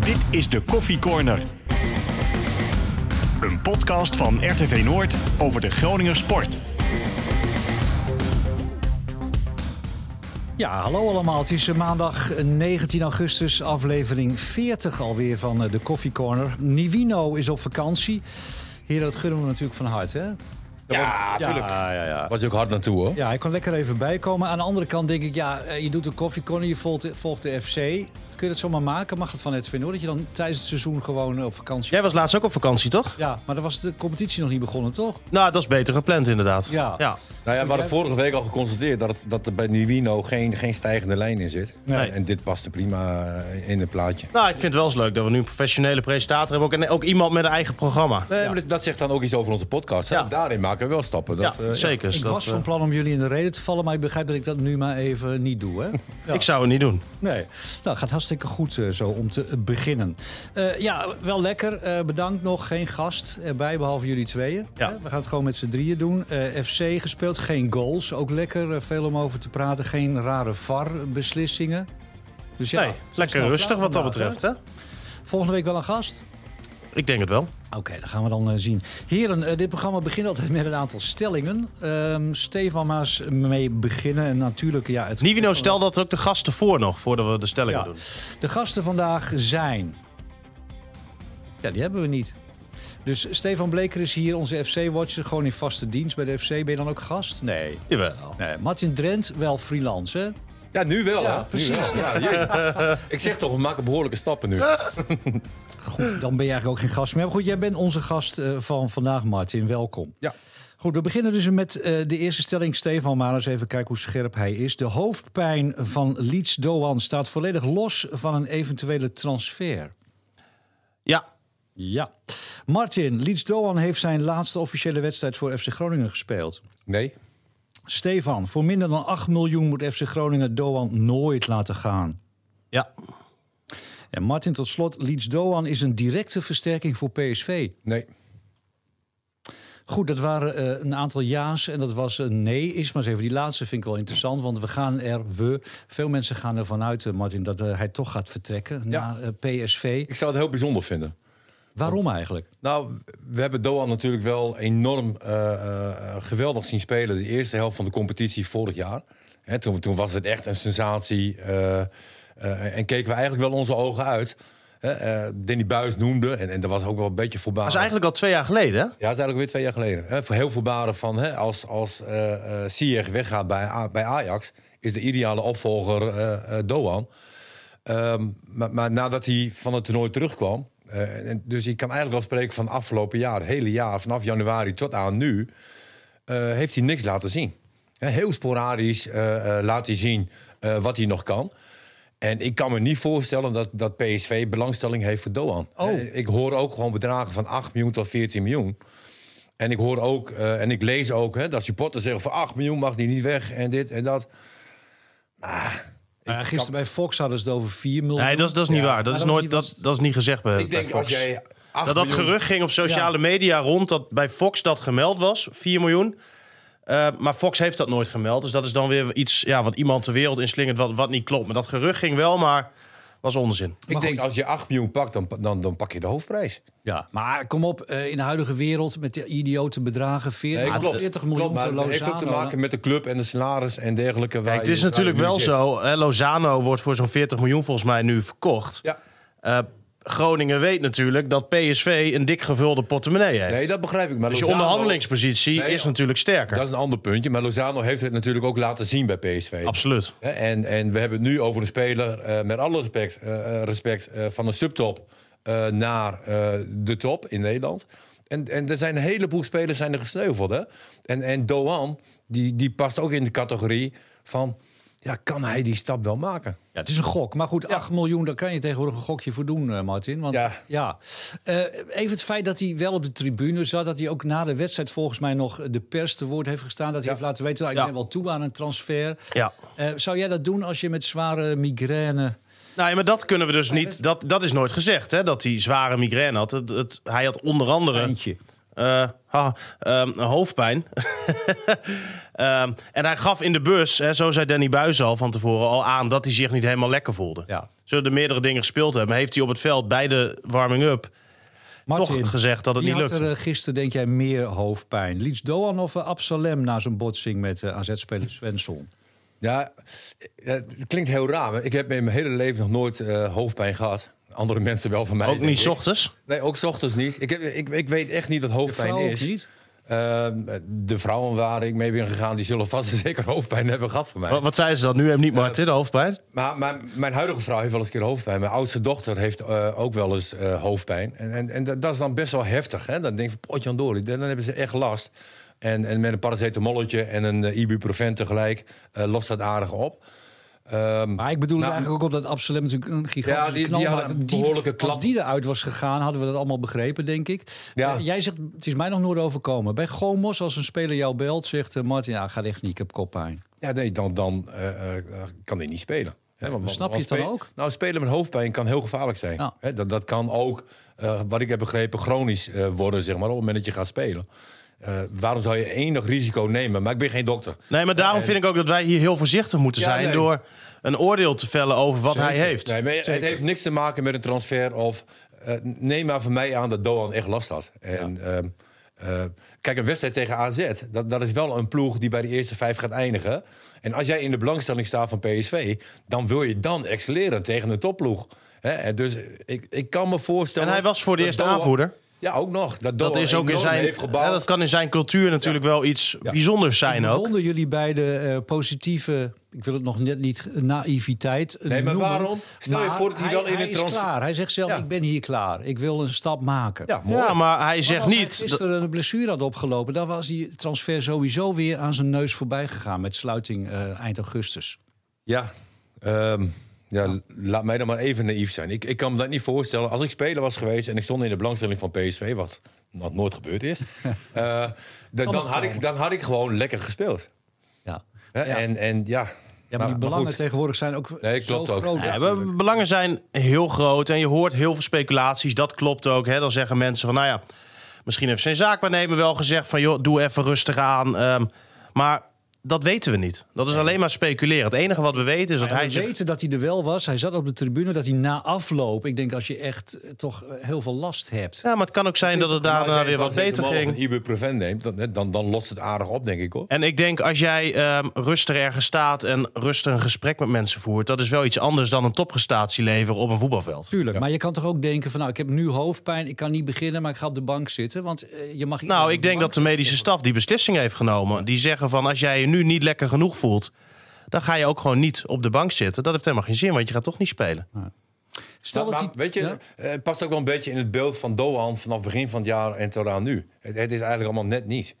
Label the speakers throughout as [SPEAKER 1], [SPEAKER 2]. [SPEAKER 1] Dit is de Koffie Corner. Een podcast van RTV Noord over de Groninger sport.
[SPEAKER 2] Ja, hallo allemaal. Het is eh, maandag 19 augustus, aflevering 40 alweer van eh, de Coffee Corner. Nivino is op vakantie. Heren, dat gunnen we natuurlijk van harte, hè?
[SPEAKER 3] Ja, natuurlijk.
[SPEAKER 2] Ja, ja, ja.
[SPEAKER 3] Was je ook hard naartoe hoor.
[SPEAKER 2] Ja, hij kon lekker even bijkomen. Aan de andere kant denk ik, ja, eh, je doet een koffiecorner, je volgt, volgt de FC. Kun je dat zomaar maken? Mag het van het Noord dat je dan tijdens het seizoen gewoon eh, op vakantie...
[SPEAKER 4] Jij was laatst ook op vakantie, toch?
[SPEAKER 2] Ja, maar dan was de competitie nog niet begonnen, toch?
[SPEAKER 4] Nou, dat is beter gepland, inderdaad.
[SPEAKER 2] Ja.
[SPEAKER 3] Nou ja, we hadden vorige week al geconstateerd dat, het- dat er bij Nivino geen, geen stijgende lijn in zit.
[SPEAKER 4] Nee.
[SPEAKER 3] En dit past er prima eh, in het plaatje.
[SPEAKER 4] Nou, ik vind het wel eens leuk dat we nu een professionele presentator hebben. Ook, en ook iemand met een eigen programma.
[SPEAKER 3] Nee, maar dat, dat zegt dan ook iets over onze podcast. hè?
[SPEAKER 4] Ja.
[SPEAKER 3] Daarin maken we wel stappen. Dat,
[SPEAKER 4] ja,
[SPEAKER 3] eh,
[SPEAKER 4] zeker.
[SPEAKER 2] ik
[SPEAKER 4] Dat,
[SPEAKER 2] was
[SPEAKER 4] eh,
[SPEAKER 2] van plan om jullie in de reden te vallen, maar ik begrijp dat ik dat nu maar even niet doe, hè? Ja.
[SPEAKER 4] Ik zou het niet doen.
[SPEAKER 2] Nee, nou gaat hartstikke goed eh, zo om te eh, beginnen. Eh, ja, wel lekker. Eh, bedankt nog. Geen gast erbij, behalve jullie tweeën.
[SPEAKER 4] Ja.
[SPEAKER 2] Eh, We gaan het gewoon met z'n drieën doen. Eh, FC gespeeld, geen goals. Ook lekker, eh, veel om over te praten. Geen rare VAR-beslissingen. Dus ja,
[SPEAKER 4] nee,
[SPEAKER 2] we zijn
[SPEAKER 4] lekker
[SPEAKER 2] snel
[SPEAKER 4] rustig
[SPEAKER 2] klaar
[SPEAKER 4] wat dat
[SPEAKER 2] vandaag,
[SPEAKER 4] betreft. Hè?
[SPEAKER 2] hè? Volgende week wel een gast?
[SPEAKER 4] Ik denk het wel.
[SPEAKER 2] Oké, dat gaan we dan eh, zien. Heren, eh, dit programma begint altijd met een aantal stellingen. Ehm Stefan Maas mee beginnen. En natuurlijk, ja, het
[SPEAKER 4] Nivino, stel dat ook de gasten voor nog, voordat we de stellingen
[SPEAKER 2] eh, Ja.
[SPEAKER 4] doen.
[SPEAKER 2] De gasten vandaag zijn. Ja, die hebben we niet. Dus Stefan Bleker is hier, onze FC-watcher, gewoon in vaste dienst bij de FC. Ben je dan ook gast? Nee.
[SPEAKER 4] Jawel.
[SPEAKER 2] nee. Martin Drent, wel freelance, hè?
[SPEAKER 3] Ja, nu wel.
[SPEAKER 2] Ja,
[SPEAKER 3] hè? Nu
[SPEAKER 2] precies.
[SPEAKER 3] wel. Ja, jee. ik zeg toch, we maken behoorlijke stappen nu.
[SPEAKER 2] Goed, dan ben je eigenlijk ook geen gast meer. Maar goed, jij bent onze gast eh, van vandaag, Martin. Welkom.
[SPEAKER 3] Ja.
[SPEAKER 2] Goed, we beginnen dus met eh, de eerste stelling. Stefan Manus, even kijken hoe scherp hij is. De hoofdpijn van Leeds Doan staat volledig los van een eventuele transfer.
[SPEAKER 4] Ja,
[SPEAKER 2] Ja. Martin, Leeds Doan heeft zijn laatste officiële wedstrijd voor FC Groningen gespeeld.
[SPEAKER 3] Nee.
[SPEAKER 2] Stefan, voor minder dan 8 miljoen moet FC Groningen Doan nooit laten gaan.
[SPEAKER 4] ja,
[SPEAKER 2] Ah. En Martin, tot slot, Leeds Doan is een directe versterking voor PSV.
[SPEAKER 3] Nee.
[SPEAKER 2] Goed, dat waren eh, een aantal ja's en dat was een nee. Is maar eens even die laatste, vind ik wel interessant. Want we gaan er, we, veel mensen gaan ervan uit, eh, Martin, dat eh, hij toch gaat vertrekken
[SPEAKER 3] Ja.
[SPEAKER 2] naar eh, PSV.
[SPEAKER 3] Ik zou het heel bijzonder vinden.
[SPEAKER 2] Waarom eigenlijk?
[SPEAKER 3] Nou, we hebben Doan natuurlijk wel enorm eh, eh, geweldig zien spelen. De eerste helft van de competitie vorig jaar. Hè, toen, toen was het echt een sensatie. eh, eh, en keken we eigenlijk wel onze ogen uit. Hè, eh, Danny Buis noemde, en, en dat was ook wel een beetje
[SPEAKER 4] dat
[SPEAKER 3] voorbarig.
[SPEAKER 4] is eigenlijk al twee jaar geleden. Hè?
[SPEAKER 3] Ja, dat is eigenlijk weer twee jaar geleden. Hè, voor heel voorbarig van hè, als, als eh, eh, Ziyech weggaat bij, A- bij Ajax... is de ideale opvolger eh, eh, Doan. Ehm, maar, maar nadat hij van het toernooi terugkwam. eh, en dus ik kan eigenlijk wel spreken van afgelopen jaar, het hele jaar, vanaf januari tot aan nu. eh, heeft hij niks laten zien. Hè, Heel sporadisch eh, eh, laat hij zien eh, wat hij nog kan. En ik kan me niet voorstellen dat, dat PSV belangstelling heeft voor Doan.
[SPEAKER 2] Oh.
[SPEAKER 3] Eh, Ik hoor ook gewoon bedragen van 8 miljoen tot 14 miljoen. En ik hoor ook, eh, en ik lees ook, hè, dat supporters zeggen van 8 miljoen mag die niet weg en dit en dat.
[SPEAKER 2] Nou ja, gisteren bij Fox hadden ze het over 4 miljoen.
[SPEAKER 4] Nee, dat is, dat is niet waar. Dat
[SPEAKER 2] maar
[SPEAKER 4] is,
[SPEAKER 2] dat was
[SPEAKER 4] nooit,
[SPEAKER 2] niet-
[SPEAKER 4] dat, dat is niet gezegd bij,
[SPEAKER 3] Ik
[SPEAKER 4] bij
[SPEAKER 3] denk
[SPEAKER 4] Fox.
[SPEAKER 3] als jij 8
[SPEAKER 4] dat dat
[SPEAKER 3] miljoen-
[SPEAKER 4] gerucht ging op sociale media rond dat bij Fox dat gemeld was, 4 miljoen. Eh, maar Fox heeft dat nooit gemeld. Dus dat is dan weer iets ja, wat iemand de wereld inslingert wat, wat niet klopt. Maar dat gerucht ging wel, maar was onzin.
[SPEAKER 3] Ik denk, als je 8 miljoen pakt, dan, dan, dan pak je de hoofdprijs.
[SPEAKER 2] Ja, maar kom op, eh, in de huidige wereld met de idiote bedragen, 40,
[SPEAKER 3] Nee, klopt.
[SPEAKER 2] 40 miljoen
[SPEAKER 3] Klopt, maar
[SPEAKER 2] voor
[SPEAKER 3] het
[SPEAKER 2] Lozano.
[SPEAKER 3] heeft ook te maken met de club en de salaris en dergelijke. waar
[SPEAKER 4] Kijk, het is
[SPEAKER 3] je-
[SPEAKER 4] natuurlijk
[SPEAKER 3] waar je
[SPEAKER 4] wel
[SPEAKER 3] nu zit.
[SPEAKER 4] zo. Hè, Lozano wordt voor zo'n 40 miljoen volgens mij nu verkocht.
[SPEAKER 3] Ja.
[SPEAKER 4] Eh, Groningen weet natuurlijk dat PSV een dik gevulde portemonnee heeft.
[SPEAKER 3] Nee, dat begrijp ik. Maar
[SPEAKER 4] dus je
[SPEAKER 3] Lozano-
[SPEAKER 4] onderhandelingspositie
[SPEAKER 3] Nee,
[SPEAKER 4] is natuurlijk sterker.
[SPEAKER 3] Dat is een ander puntje. Maar Lozano heeft het natuurlijk ook laten zien bij PSV.
[SPEAKER 4] Absoluut.
[SPEAKER 3] Hè, En, en we hebben het nu over een speler, eh, met alle respect, eh, eh, respect eh, van een subtop eh, naar eh, de top in Nederland. En, en er zijn een heleboel spelers zijn er gesneuveld. Hè? En, en Doan, die, die past ook in de categorie van... Ja, kan hij die stap wel maken?
[SPEAKER 2] Ja, het is een gok. Maar goed, 8 miljoen, daar kan je tegenwoordig een gokje voor doen, eh, Martin. Want, ja.
[SPEAKER 3] Ja.
[SPEAKER 2] Eh, even het feit dat hij wel op de tribune zat. Dat hij ook na de wedstrijd volgens mij nog de pers te woord heeft gestaan. Dat hij heeft laten weten, nou, ik
[SPEAKER 4] Ja.
[SPEAKER 2] ben wel toe aan een transfer.
[SPEAKER 4] Ja.
[SPEAKER 2] Eh, zou jij dat doen als je met zware migraine...
[SPEAKER 4] Nou, ja, maar dat kunnen we dus niet. Dat, dat is nooit gezegd, hè? Dat hij zware migraine had. Het, het- hij had onder andere
[SPEAKER 2] Eindje.
[SPEAKER 4] eh, ha, ehm, hoofdpijn. Ehm, en hij gaf in de bus, hè, zo zei Danny Buis al van tevoren, al aan dat hij zich niet helemaal lekker voelde.
[SPEAKER 2] Ja.
[SPEAKER 4] Zullen er meerdere dingen gespeeld hebben. Heeft hij op het veld bij de warming-up
[SPEAKER 2] Martin,
[SPEAKER 4] toch gezegd dat het
[SPEAKER 2] wie
[SPEAKER 4] niet
[SPEAKER 2] had
[SPEAKER 4] lukte?
[SPEAKER 2] er eh, gisteren, denk jij, meer hoofdpijn? Leeds Doan of eh, Absalem na zijn botsing met eh, AZ-speler Svensson?
[SPEAKER 3] Ja, eh, het klinkt heel raar. maar Ik heb in mijn hele leven nog nooit eh, hoofdpijn gehad. Andere mensen wel van mij.
[SPEAKER 4] Ook
[SPEAKER 3] denk
[SPEAKER 4] niet
[SPEAKER 3] ik.
[SPEAKER 4] 's ochtends?
[SPEAKER 3] Nee, ook 's ochtends niet. Ik, heb, ik, ik weet echt niet wat
[SPEAKER 2] De
[SPEAKER 3] hoofdpijn
[SPEAKER 2] vrouw ook
[SPEAKER 3] is.
[SPEAKER 2] niet?
[SPEAKER 3] Ehm, de vrouwen waar ik mee ben gegaan, die zullen vast en zeker hoofdpijn hebben gehad van mij.
[SPEAKER 4] Wat, wat zeiden ze dan? Nu hem niet Martin, de hoofdpijn?
[SPEAKER 3] Maar mijn, mijn huidige vrouw heeft wel eens een keer hoofdpijn. Mijn oudste dochter heeft eh, ook wel eens eh, hoofdpijn. En, en, en dat dat is dan best wel heftig. Hè? Dan denk ik van, potje door, dan hebben ze echt last. En, en met een paracetamolletje en een eh, ibuprofen tegelijk eh, lost dat aardig op. Ehm,
[SPEAKER 2] Maar ik bedoel het
[SPEAKER 3] Nou,
[SPEAKER 2] eigenlijk ook op dat Absalem natuurlijk een gigantische
[SPEAKER 3] Ja, die-
[SPEAKER 2] knal
[SPEAKER 3] die
[SPEAKER 2] maakte.
[SPEAKER 3] hadden een behoorlijke klap.
[SPEAKER 2] Als die eruit was gegaan, hadden we dat allemaal begrepen, denk ik.
[SPEAKER 3] Ja.
[SPEAKER 2] Eh, jij zegt, het is mij nog nooit overkomen. Bij Gomos, als een speler jou belt, zegt eh, Martin, ja, ga echt niet, ik heb koppijn.
[SPEAKER 3] Ja, nee, dan, dan eh, eh, kan hij niet spelen. Hè, want-
[SPEAKER 2] maar snap je
[SPEAKER 3] want
[SPEAKER 2] het dan
[SPEAKER 3] spe-
[SPEAKER 2] ook?
[SPEAKER 3] Nou, spelen met hoofdpijn kan heel gevaarlijk zijn.
[SPEAKER 2] Ja.
[SPEAKER 3] Hè, dat, dat kan ook, eh, wat ik heb begrepen, chronisch eh, worden, zeg maar, op het moment dat je gaat spelen. Eh, waarom zou je enig risico nemen? Maar ik ben geen dokter.
[SPEAKER 4] Nee, maar daarom vind ik ook dat wij hier heel voorzichtig moeten
[SPEAKER 3] Ja,
[SPEAKER 4] zijn...
[SPEAKER 3] nee.
[SPEAKER 4] door een oordeel te vellen over wat hij heeft.
[SPEAKER 3] Nee, maar het heeft niks te maken met een transfer of... eh, neem maar van mij aan dat Doan echt last had. En, ehm, eh, kijk, een wedstrijd tegen AZ, dat, dat is wel een ploeg die bij de eerste vijf gaat eindigen. En als jij in de belangstelling staat van PSV, dan wil je dan excelleren tegen een topploeg. Hè, en dus ik, ik kan me voorstellen...
[SPEAKER 4] En hij was voor de
[SPEAKER 3] dat
[SPEAKER 4] eerste
[SPEAKER 3] Doan-
[SPEAKER 4] aanvoerder.
[SPEAKER 3] Ja, ook nog. Dat,
[SPEAKER 4] Dat is ook in zijn,
[SPEAKER 3] heeft gebouwd.
[SPEAKER 4] ja, dat kan in zijn cultuur natuurlijk wel iets
[SPEAKER 3] Ja.
[SPEAKER 4] bijzonders zijn ook.
[SPEAKER 2] Vonden jullie bij de eh, positieve, ik wil het nog net niet, eh, naïviteit eh,
[SPEAKER 3] Nee, maar
[SPEAKER 2] noemen.
[SPEAKER 3] waarom? Stel je
[SPEAKER 2] Maar
[SPEAKER 3] voor dat hij wel in
[SPEAKER 2] hij
[SPEAKER 3] een
[SPEAKER 2] is
[SPEAKER 3] trans-
[SPEAKER 2] klaar. Hij zegt zelf,
[SPEAKER 3] Ja.
[SPEAKER 2] ik ben hier klaar. Ik wil een stap maken.
[SPEAKER 3] Ja, mooi.
[SPEAKER 4] Ja, maar hij
[SPEAKER 2] Maar
[SPEAKER 4] zegt
[SPEAKER 2] als hij
[SPEAKER 4] niet... dat-
[SPEAKER 2] gisteren een blessure had opgelopen, dan was die transfer sowieso weer aan zijn neus voorbij gegaan met sluiting eh, eind augustus.
[SPEAKER 3] Ja, ehm, ja, l- laat mij dan maar even naïef zijn. Ik, ik kan me dat niet voorstellen. Als ik speler was geweest en ik stond in de belangstelling van PSV, wat, wat nooit gebeurd is, eh, d- dan,
[SPEAKER 2] nog
[SPEAKER 3] had ik,
[SPEAKER 2] komen.
[SPEAKER 3] dan had ik gewoon lekker gespeeld.
[SPEAKER 2] Ja.
[SPEAKER 3] Hè?
[SPEAKER 2] Ja.
[SPEAKER 3] En, en ja.
[SPEAKER 2] Ja, maar
[SPEAKER 3] nou,
[SPEAKER 2] die belangen
[SPEAKER 3] goed.
[SPEAKER 2] tegenwoordig zijn ook
[SPEAKER 3] Nee,
[SPEAKER 2] zo
[SPEAKER 3] klopt ook.
[SPEAKER 2] groot.
[SPEAKER 3] Ja,
[SPEAKER 4] Ja,
[SPEAKER 2] natuurlijk.
[SPEAKER 4] be- belangen zijn heel groot en je hoort heel veel speculaties. Dat klopt ook. Hè? Dan zeggen mensen van, nou ja, misschien heeft zijn zaakwaarnemer wel gezegd van... joh, doe even rustig aan. Ehm, maar dat weten we niet. Dat is alleen maar speculeren. Het enige wat we weten is dat
[SPEAKER 2] En
[SPEAKER 4] hij...
[SPEAKER 2] we
[SPEAKER 4] zich-
[SPEAKER 2] weten dat hij er wel was. Hij zat op de tribune. Dat hij na afloop. Ik denk als je echt eh, toch eh, heel veel last hebt.
[SPEAKER 4] Ja, maar het kan ook zijn dat het
[SPEAKER 3] Maar Nou, als
[SPEAKER 4] daarna
[SPEAKER 3] jij
[SPEAKER 4] weer wat beter
[SPEAKER 3] paracetamol
[SPEAKER 4] ging.
[SPEAKER 3] Of een ibuprofen neemt, dan, dan, dan lost het aardig op, denk ik hoor.
[SPEAKER 4] En ik denk als jij ehm, rustig ergens staat en rustig een gesprek met mensen voert, dat is wel iets anders dan een topprestatie leveren op een voetbalveld.
[SPEAKER 2] Tuurlijk. Maar je kan toch ook denken van nou ik heb nu hoofdpijn. Ik kan niet beginnen. Maar ik ga op de bank zitten. Want eh, je mag.
[SPEAKER 4] Nou, ik denk dat de medische staf die beslissing heeft genomen. Die zeggen van als jij je nu niet lekker genoeg voelt, dan ga je ook gewoon niet op de bank zitten. Dat heeft helemaal geen zin, want je gaat toch niet spelen.
[SPEAKER 2] Stel
[SPEAKER 3] Maar-
[SPEAKER 2] dat
[SPEAKER 3] maar
[SPEAKER 2] hij-
[SPEAKER 3] weet je,
[SPEAKER 2] Ja?
[SPEAKER 3] eh, het past ook wel een beetje in het beeld van Doan vanaf begin van het jaar en tot aan nu. Het, het is eigenlijk allemaal net niet.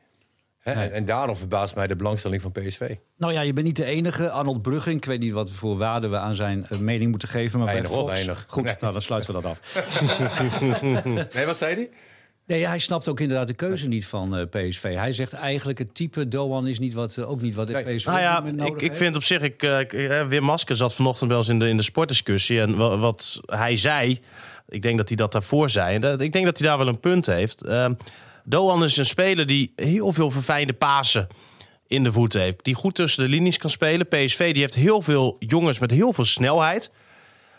[SPEAKER 3] Hè? En, en daarom verbaast mij de belangstelling van PSV.
[SPEAKER 2] Nou ja, je bent niet de enige. Arnold Brugging, ik weet niet wat voor waarde we aan zijn eh, mening moeten geven. Maar
[SPEAKER 3] Weinig,
[SPEAKER 2] bij
[SPEAKER 3] hoor,
[SPEAKER 2] Fox...
[SPEAKER 3] weinig.
[SPEAKER 2] Goed,
[SPEAKER 3] Nee.
[SPEAKER 2] nou dan sluiten we dat af.
[SPEAKER 3] Nee, wat zei hij?
[SPEAKER 2] Nee, hij snapt ook inderdaad de keuze niet van eh, PSV. Hij zegt eigenlijk het type Doan is niet wat, eh, ook niet wat de
[SPEAKER 3] Nee.
[SPEAKER 2] PSV
[SPEAKER 4] Nou ja,
[SPEAKER 2] op dit moment
[SPEAKER 4] ik,
[SPEAKER 2] nodig
[SPEAKER 4] ik
[SPEAKER 2] heeft.
[SPEAKER 4] vind op zich, ik, eh, ik, eh, Wim Maske zat vanochtend wel eens in de, in de sportdiscussie. En wa- wat hij zei, ik denk dat hij dat daarvoor zei. En dat- ik denk dat hij daar wel een punt heeft. Ehm, Doan is een speler die heel veel verfijnde pasen in de voeten heeft. Die goed tussen de linies kan spelen. PSV die heeft heel veel jongens met heel veel snelheid.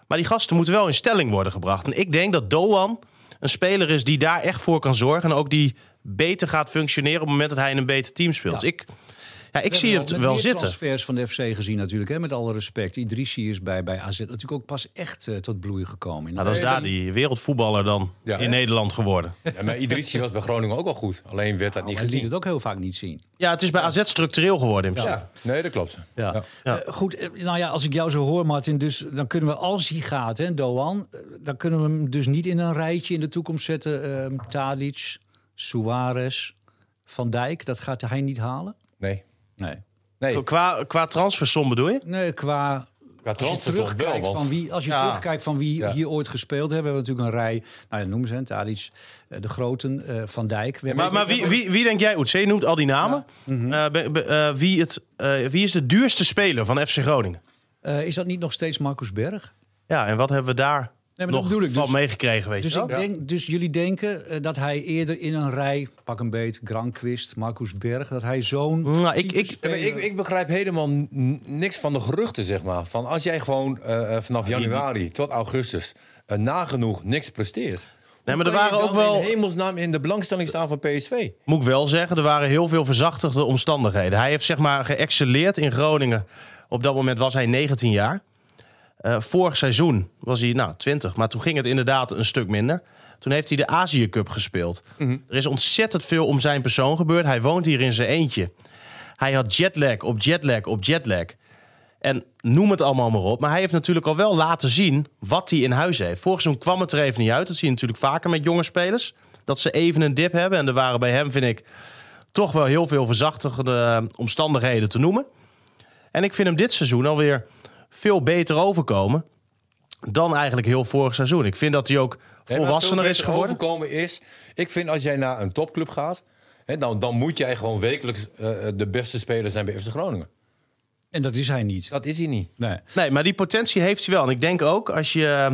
[SPEAKER 4] Maar die gasten moeten wel in stelling worden gebracht. En ik denk dat Doan een speler is die daar echt voor kan zorgen. En ook die beter gaat functioneren op het moment dat hij in een beter team speelt. Dus ik, ja, ik zie het wel zitten.
[SPEAKER 2] transfers van de FC gezien natuurlijk, hè, met alle respect. Idrissi is bij, bij AZ natuurlijk ook pas echt eh, tot bloei gekomen.
[SPEAKER 4] Nou, dat is daar die wereldvoetballer dan
[SPEAKER 3] Ja.
[SPEAKER 4] in Nederland geworden.
[SPEAKER 3] Ja, maar Idrissi was bij Groningen ook wel goed. Alleen werd dat niet
[SPEAKER 2] hij liet
[SPEAKER 3] gezien.
[SPEAKER 2] het ook heel vaak niet zien.
[SPEAKER 4] Ja, het is bij AZ structureel geworden in principe.
[SPEAKER 3] Ja, nee, dat klopt.
[SPEAKER 2] Ja.
[SPEAKER 4] Ja.
[SPEAKER 2] Eh, goed, eh, nou ja, als ik jou zo hoor, Martin, dus dan kunnen we als hij gaat, hè, Doan, eh, dan kunnen we hem dus niet in een rijtje in de toekomst zetten. ehm Tadic, Suarez, Van Dijk, dat gaat hij niet halen.
[SPEAKER 3] Nee.
[SPEAKER 2] Nee.
[SPEAKER 3] Nee,
[SPEAKER 4] Qua, qua transfersom bedoel je?
[SPEAKER 2] Nee, qua
[SPEAKER 3] qua
[SPEAKER 2] Als je
[SPEAKER 3] transfer toch wel,
[SPEAKER 2] terugkijkt van
[SPEAKER 3] want...
[SPEAKER 2] wie, als je
[SPEAKER 4] Ja.
[SPEAKER 2] terugkijkt van wie
[SPEAKER 3] Ja.
[SPEAKER 2] hier ooit gespeeld hebben, hebben we natuurlijk een rij. Nou ja, noem ze, hè, Tadic, eh, de Groten, eh, Van Dijk. We hebben-
[SPEAKER 4] Maar, maar wie, wie, wie denk jij, Oetse, je noemt al die namen. Eh, be- be- eh, wie, het, eh, wie is de duurste speler van FC Groningen?
[SPEAKER 2] Eh, is dat niet nog steeds Marcus Berg?
[SPEAKER 4] Ja, en wat hebben we daar
[SPEAKER 2] Nee, maar dat
[SPEAKER 4] nog
[SPEAKER 2] bedoel ik.
[SPEAKER 4] van
[SPEAKER 2] Dus,
[SPEAKER 4] meegekregen, weet
[SPEAKER 2] dus,
[SPEAKER 4] je wel.
[SPEAKER 2] ik denk, dus jullie denken eh, dat hij eerder in een rij, pak een beet, Granqvist, Marcus Berg, dat hij zo'n...
[SPEAKER 4] Nou, ik, ik,
[SPEAKER 3] Ja, maar ik, ik begrijp helemaal n- niks van de geruchten, zeg maar. Van als jij gewoon eh, eh, vanaf januari tot augustus eh, nagenoeg niks presteert.
[SPEAKER 4] Nee,
[SPEAKER 3] hoe
[SPEAKER 4] maar er
[SPEAKER 3] kan je
[SPEAKER 4] waren
[SPEAKER 3] dan
[SPEAKER 4] ook wel-
[SPEAKER 3] in hemelsnaam in de belangstelling staan van PSV.
[SPEAKER 4] moet ik wel zeggen, er waren heel veel verzachtigde omstandigheden. Hij heeft zeg maar geëxceleerd in Groningen. Op dat moment was hij 19 jaar. Eh, vorig seizoen was hij nou, 20, maar toen ging het inderdaad een stuk minder. Toen heeft hij de Azië Cup gespeeld. Er is ontzettend veel om zijn persoon gebeurd. Hij woont hier in zijn eentje. Hij had jetlag op jetlag op jetlag. En noem het allemaal maar op. Maar hij heeft natuurlijk al wel laten zien wat hij in huis heeft. Vorig seizoen kwam het er even niet uit. Dat zie je natuurlijk vaker met jonge spelers. Dat ze even een dip hebben. En er waren bij hem, vind ik, toch wel heel veel verzachtigde eh, omstandigheden te noemen. En ik vind hem dit seizoen alweer veel beter overkomen dan eigenlijk heel vorig seizoen. Ik vind dat hij ook
[SPEAKER 3] Nee, maar
[SPEAKER 4] volwassener
[SPEAKER 3] veel
[SPEAKER 4] is
[SPEAKER 3] beter
[SPEAKER 4] geworden.
[SPEAKER 3] Overkomen is, ik vind als jij naar een topclub gaat, hè, dan, dan moet jij gewoon wekelijks eh, de beste speler zijn bij FC Groningen.
[SPEAKER 2] En dat is hij niet.
[SPEAKER 3] Dat is hij niet.
[SPEAKER 2] Nee.
[SPEAKER 4] Nee, maar die potentie heeft hij wel. En ik denk ook als je eh,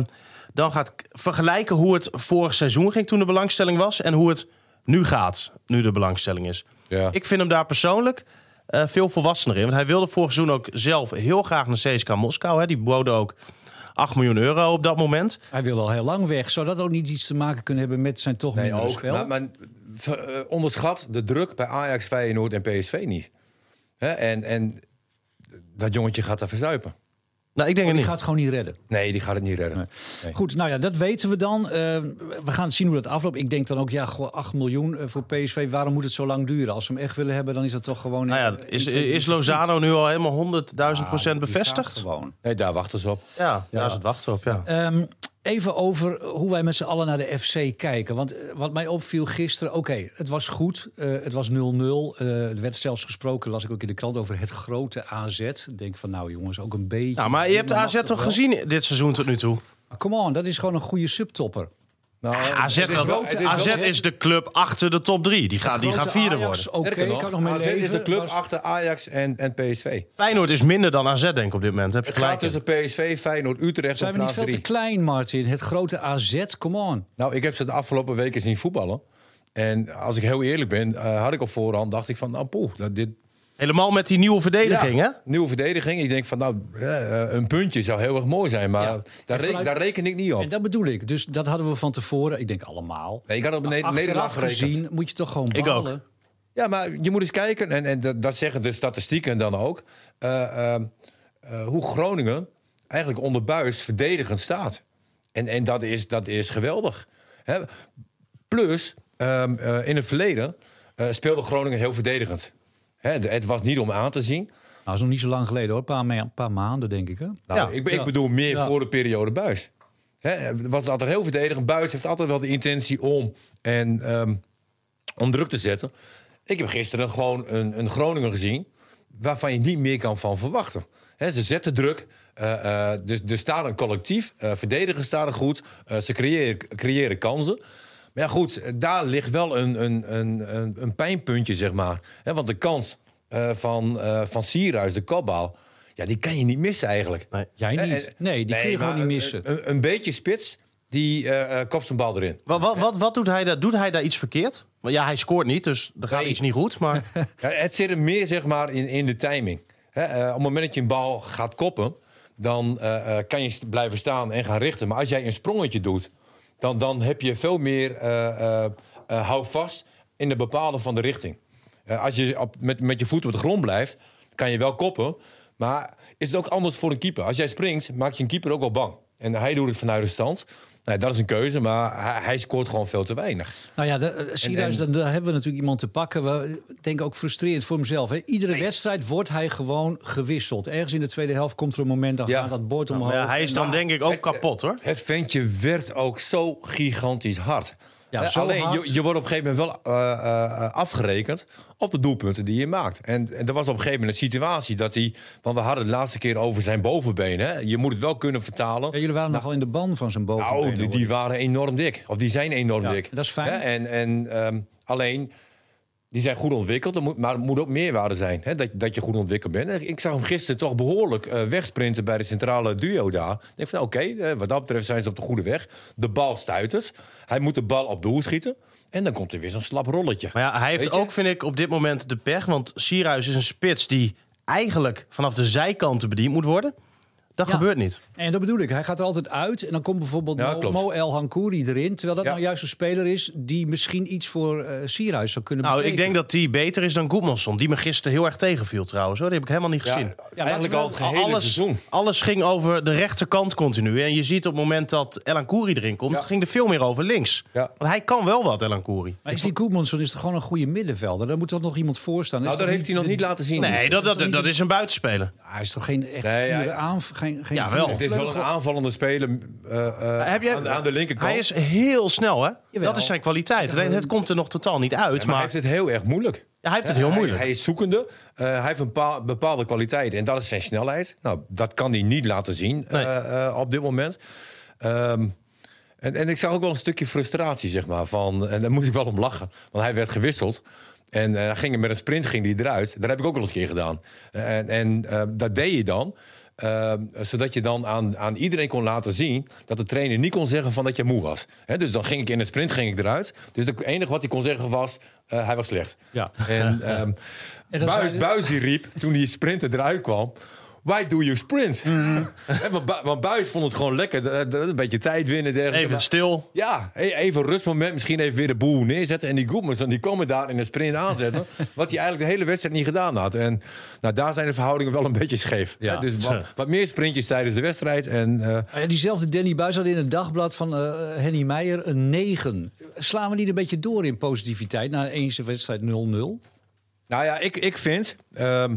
[SPEAKER 4] dan gaat k- vergelijken hoe het vorig seizoen ging toen de belangstelling was en hoe het nu gaat, nu de belangstelling is.
[SPEAKER 3] Ja.
[SPEAKER 4] Ik vind hem daar persoonlijk eh, veel volwassener in. Want hij wilde vorig seizoen ook zelf heel graag naar CSKA Moskou. Hè. Die boden ook 8 miljoen euro op dat moment.
[SPEAKER 2] Hij wil al heel lang weg. Zou dat ook niet iets te maken kunnen hebben met zijn toch
[SPEAKER 3] Nee,
[SPEAKER 2] minder
[SPEAKER 3] ook.
[SPEAKER 2] spel?
[SPEAKER 3] Maar, maar ver- eh, onderschat de druk bij Ajax, Feyenoord en PSV niet. Hè, en, en dat jongetje gaat daar verzuipen.
[SPEAKER 4] Nou, ik denk het
[SPEAKER 2] Oh, die
[SPEAKER 4] niet.
[SPEAKER 2] gaat gewoon niet redden.
[SPEAKER 3] Nee, die gaat het niet redden. Nee.
[SPEAKER 2] Goed, nou ja, dat weten we dan. Eh, we gaan zien hoe dat afloopt. Ik denk dan ook, ja, gewoon 8 miljoen eh, voor PSV. Waarom moet het zo lang duren? Als ze hem echt willen hebben, dan is dat toch gewoon...
[SPEAKER 4] Nou ja,
[SPEAKER 2] eh,
[SPEAKER 4] is,
[SPEAKER 2] iets wat-
[SPEAKER 4] is Lozano nu al helemaal 100.000 procent
[SPEAKER 2] die staat
[SPEAKER 4] bevestigd?
[SPEAKER 2] Gewoon.
[SPEAKER 3] Nee, daar wachten ze op.
[SPEAKER 4] Ja, daar is het wachten op. Ja.
[SPEAKER 2] Ehm, even over hoe wij met z'n allen naar de FC kijken. Want eh, wat mij opviel gisteren, oké, het was goed. eh, het was 0-0. Eh, er werd zelfs gesproken, las ik ook in de krant, over het grote AZ. Ik denk van, nou jongens, ook een beetje...
[SPEAKER 4] Nou, maar je hebt
[SPEAKER 2] mag
[SPEAKER 4] AZ toch
[SPEAKER 2] wel.
[SPEAKER 4] gezien dit seizoen tot nu toe?
[SPEAKER 2] Maar Come on, dat is gewoon een goede subtopper.
[SPEAKER 3] Nou,
[SPEAKER 4] AZ,
[SPEAKER 3] het is
[SPEAKER 4] dat-
[SPEAKER 3] wel- het is
[SPEAKER 4] AZ
[SPEAKER 3] wel-
[SPEAKER 4] is de club achter de top 3. Die, gaat, die gaat vierde worden.
[SPEAKER 2] Oké,
[SPEAKER 3] Sterker
[SPEAKER 2] kan ik nog mee
[SPEAKER 3] AZ
[SPEAKER 2] leven.
[SPEAKER 3] is de club
[SPEAKER 2] Was-
[SPEAKER 3] achter Ajax en, en PSV.
[SPEAKER 4] Feyenoord is minder dan AZ, denk ik, op dit moment. Heb je
[SPEAKER 3] Het gaat
[SPEAKER 4] gelijk. in.
[SPEAKER 3] tussen PSV, Feyenoord, Utrecht
[SPEAKER 2] Zijn
[SPEAKER 3] en
[SPEAKER 2] we niet
[SPEAKER 3] plaats
[SPEAKER 2] veel te
[SPEAKER 3] drie.
[SPEAKER 2] klein, Martin? Het grote AZ, come on.
[SPEAKER 3] Nou, ik heb ze de afgelopen weken zien voetballen. En als ik heel eerlijk ben, eh, had ik op voorhand, dacht ik van, nou poeh, dat dit...
[SPEAKER 4] Helemaal met die nieuwe verdediging,
[SPEAKER 3] Ja,
[SPEAKER 4] hè?
[SPEAKER 3] Nieuwe verdediging. Ik denk van, nou, eh, een puntje zou heel erg mooi zijn, maar
[SPEAKER 2] Ja.
[SPEAKER 3] daar,
[SPEAKER 2] En
[SPEAKER 3] re-
[SPEAKER 2] vanuit-
[SPEAKER 3] daar reken ik niet op.
[SPEAKER 2] En dat bedoel ik. Dus dat hadden we van tevoren, ik denk allemaal.
[SPEAKER 3] Nee, ik had op een ne-
[SPEAKER 2] Achteraf
[SPEAKER 3] nederlaag gerekend.
[SPEAKER 2] gezien moet je toch gewoon
[SPEAKER 4] Ik
[SPEAKER 2] balen.
[SPEAKER 4] ook.
[SPEAKER 3] Ja, maar je moet eens kijken, en, en dat, dat zeggen de statistieken dan ook, eh, eh, eh, hoe Groningen eigenlijk onder buis verdedigend staat. En, en dat, is, dat is geweldig. Hè? Plus, ehm, eh, in het verleden eh, speelde Groningen heel verdedigend. Hè, de- het was niet om aan te zien.
[SPEAKER 2] Nou, dat is nog niet zo lang geleden hoor. Een paar, ma- paar maanden, denk ik. Hè?
[SPEAKER 3] Nou,
[SPEAKER 4] Ja,
[SPEAKER 3] ik, ik
[SPEAKER 2] ja.
[SPEAKER 3] bedoel meer
[SPEAKER 2] Ja.
[SPEAKER 3] voor de periode buis. Hè, het was altijd heel verdedigend. Buis heeft altijd wel de intentie om, en, ehm, om druk te zetten. Ik heb gisteren gewoon een, een Groningen gezien waarvan je niet meer kan van verwachten. Hè, ze zetten druk. eh, eh, dus er staat een collectief. eh verdedigen staan er goed. eh, ze creëren, creëren kansen. Maar ja, goed, daar ligt wel een, een, een, een, een pijnpuntje, zeg maar. Hè, want de kans eh, van, eh van Sierhuis, de kopbal... Ja, die kan je niet missen eigenlijk.
[SPEAKER 4] Nee.
[SPEAKER 2] Jij
[SPEAKER 3] Hè,
[SPEAKER 2] niet.
[SPEAKER 3] en-
[SPEAKER 2] Nee, die kun je
[SPEAKER 3] maar
[SPEAKER 2] gewoon niet missen.
[SPEAKER 3] Een, een beetje spits, die eh, eh, kopt zijn bal erin.
[SPEAKER 4] Wat, wat, wat, wat doet hij daar? Doet hij daar iets verkeerd? Want ja, hij scoort niet, dus er gaat
[SPEAKER 3] Nee.
[SPEAKER 4] iets niet goed. Maar
[SPEAKER 3] Ja, het zit er meer zeg maar, in, in de timing. Hè, eh, op het moment dat je een bal gaat koppen, dan eh, eh, kan je st- blijven staan en gaan richten. Maar als jij een sprongetje doet, dan, dan heb je veel meer eh, eh, eh, houvast in het bepalen van de richting. Eh, als je op, met, met je voet op de grond blijft, kan je wel koppen. Maar is het ook anders voor een keeper? Als jij springt, maak je een keeper ook wel bang. En hij doet het vanuit de stand. Nou, dat is een keuze, maar hij, hij scoort gewoon veel te weinig.
[SPEAKER 2] Nou ja, de- eh, Sierhuis,
[SPEAKER 3] en-
[SPEAKER 2] dan, daar hebben we natuurlijk iemand te pakken. We denken ook frustrerend voor mezelf. Hè. Iedere wedstrijd wordt hij gewoon gewisseld. Ergens in de tweede helft komt er een moment, dan
[SPEAKER 3] Ja.
[SPEAKER 2] gaat dat bord omhoog.
[SPEAKER 4] ja, hij is dan denk ik ook kapot, hoor.
[SPEAKER 3] Het ventje werd ook zo gigantisch hard.
[SPEAKER 2] Ja,
[SPEAKER 3] Eh,
[SPEAKER 2] zo
[SPEAKER 3] Alleen,
[SPEAKER 2] hard.
[SPEAKER 3] Je, je wordt op een gegeven moment wel eh, eh, eh, afgerekend op de doelpunten die je maakt. En, en er was op een gegeven moment een situatie dat hij... Want we hadden het de laatste keer over zijn bovenbeen. Hè? Je moet het wel kunnen vertalen.
[SPEAKER 2] Ja, jullie waren nogal in de ban van zijn bovenbeen.
[SPEAKER 3] Nou, die, die waren enorm dik. Of die zijn enorm
[SPEAKER 2] Ja,
[SPEAKER 3] dik.
[SPEAKER 2] dat is fijn.
[SPEAKER 3] Hè, En, en ehm, alleen, Die zijn goed ontwikkeld, er moet- maar er moet ook meerwaarde zijn. Hè? Dat, dat je goed ontwikkeld bent. En Ik zag hem gisteren toch behoorlijk eh, wegsprinten bij de centrale duo daar. Ik denk van oké, eh, wat dat betreft zijn ze op de goede weg. De bal stuiters. Hij moet de bal op doel schieten. En dan komt er weer zo'n slap rolletje.
[SPEAKER 4] Maar ja, hij heeft
[SPEAKER 3] Weet je?
[SPEAKER 4] ook, vind ik, op dit moment de pech. Want Sierhuis is een spits die eigenlijk vanaf de zijkanten bediend moet worden. Dat
[SPEAKER 2] Ja.
[SPEAKER 4] gebeurt niet.
[SPEAKER 2] En dat bedoel ik. Hij gaat er altijd uit. En dan komt bijvoorbeeld
[SPEAKER 3] Ja,
[SPEAKER 2] Mo,
[SPEAKER 3] klopt.
[SPEAKER 2] Mo El Hankouri erin. Terwijl dat
[SPEAKER 3] Ja.
[SPEAKER 2] nou juist een speler is die misschien iets voor eh Sierhuis zou kunnen
[SPEAKER 4] Nou, ik
[SPEAKER 2] betekenen.
[SPEAKER 4] denk dat die beter is dan Goedmanson. Die me gisteren heel erg tegenviel trouwens. Hoor. Die heb ik helemaal niet
[SPEAKER 3] Ja,
[SPEAKER 4] gezien.
[SPEAKER 3] eigenlijk al het gehele
[SPEAKER 4] alles,
[SPEAKER 3] seizoen.
[SPEAKER 4] alles ging over de rechterkant continu. En je ziet op het moment dat Elan Koeri erin komt...
[SPEAKER 3] Ja.
[SPEAKER 4] ging er veel meer over links.
[SPEAKER 3] Ja.
[SPEAKER 4] Want hij kan wel wat, Elan Koeri.
[SPEAKER 2] Maar is die Koepmanson is toch gewoon een goede middenvelder? Daar moet toch nog iemand voor staan?
[SPEAKER 3] Nou,
[SPEAKER 2] Is
[SPEAKER 3] dat
[SPEAKER 2] toch
[SPEAKER 3] heeft hij nog
[SPEAKER 2] de-
[SPEAKER 3] niet laten zien.
[SPEAKER 4] Nee, dat, dat,
[SPEAKER 2] dat is
[SPEAKER 4] dat,
[SPEAKER 2] niet-
[SPEAKER 4] is een buitenspeler.
[SPEAKER 2] Ah, Hij is toch geen echt
[SPEAKER 3] Nee,
[SPEAKER 2] pure
[SPEAKER 3] ja,
[SPEAKER 2] aanv- Geen, geen
[SPEAKER 4] Jawel.
[SPEAKER 2] pure
[SPEAKER 3] Het is wel een aanvallende speler eh, eh,
[SPEAKER 4] Heb jij-
[SPEAKER 3] aan, de- aan de linkerkant.
[SPEAKER 4] Hij is heel snel, hè?
[SPEAKER 2] Jawel.
[SPEAKER 4] Dat is zijn kwaliteit. Alleen, het komt er nog totaal niet uit.
[SPEAKER 3] Ja, maar
[SPEAKER 4] maar
[SPEAKER 3] hij heeft het heel erg moeilijk.
[SPEAKER 4] Ja, hij heeft het heel moeilijk.
[SPEAKER 3] Hij, is zoekende. Eh, hij heeft een paar, bepaalde kwaliteiten. En dat is zijn snelheid. Nou, dat kan hij niet laten zien
[SPEAKER 4] Nee.
[SPEAKER 3] eh, eh, op dit moment. Ehm, en, en ik zag ook wel een stukje frustratie, zeg maar. Van, en daar moest ik wel om lachen. Want hij werd gewisseld. En eh, hij ging er met een sprint ging die eruit. Dat heb ik ook wel eens een keer gedaan. En, en eh, dat deed je dan. eh, zodat je dan aan, aan iedereen kon laten zien dat de trainer niet kon zeggen van dat je moe was. Hè, dus dan ging ik in een sprint ging ik eruit. Dus het enige wat hij kon zeggen was, eh, hij was slecht.
[SPEAKER 2] Ja.
[SPEAKER 3] En, ehm
[SPEAKER 2] En dan
[SPEAKER 3] Buis,
[SPEAKER 2] zei-
[SPEAKER 3] Buis die riep toen die sprinter eruit kwam. Why do you sprint?
[SPEAKER 4] Mhm.
[SPEAKER 3] Hè, want, Bu- want Buis vond het gewoon lekker. eh, Een beetje tijd winnen. dergelijke.
[SPEAKER 4] even stil.
[SPEAKER 3] Ja, e- even een rustmoment. Misschien even weer de boel neerzetten. En die Goedmans, die komen daar in een sprint aanzetten. wat hij eigenlijk de hele wedstrijd niet gedaan had. En nou, daar zijn de verhoudingen wel een beetje scheef.
[SPEAKER 4] Ja.
[SPEAKER 3] Hè, Dus wat, wat meer sprintjes tijdens de wedstrijd. En, eh,
[SPEAKER 2] Ah ja, diezelfde Danny Buis had in het dagblad van eh, Henny Meijer een 9. Slaan we niet een beetje door in positiviteit na eens de wedstrijd 0-0?
[SPEAKER 3] Nou ja, ik, ik vind. ehm,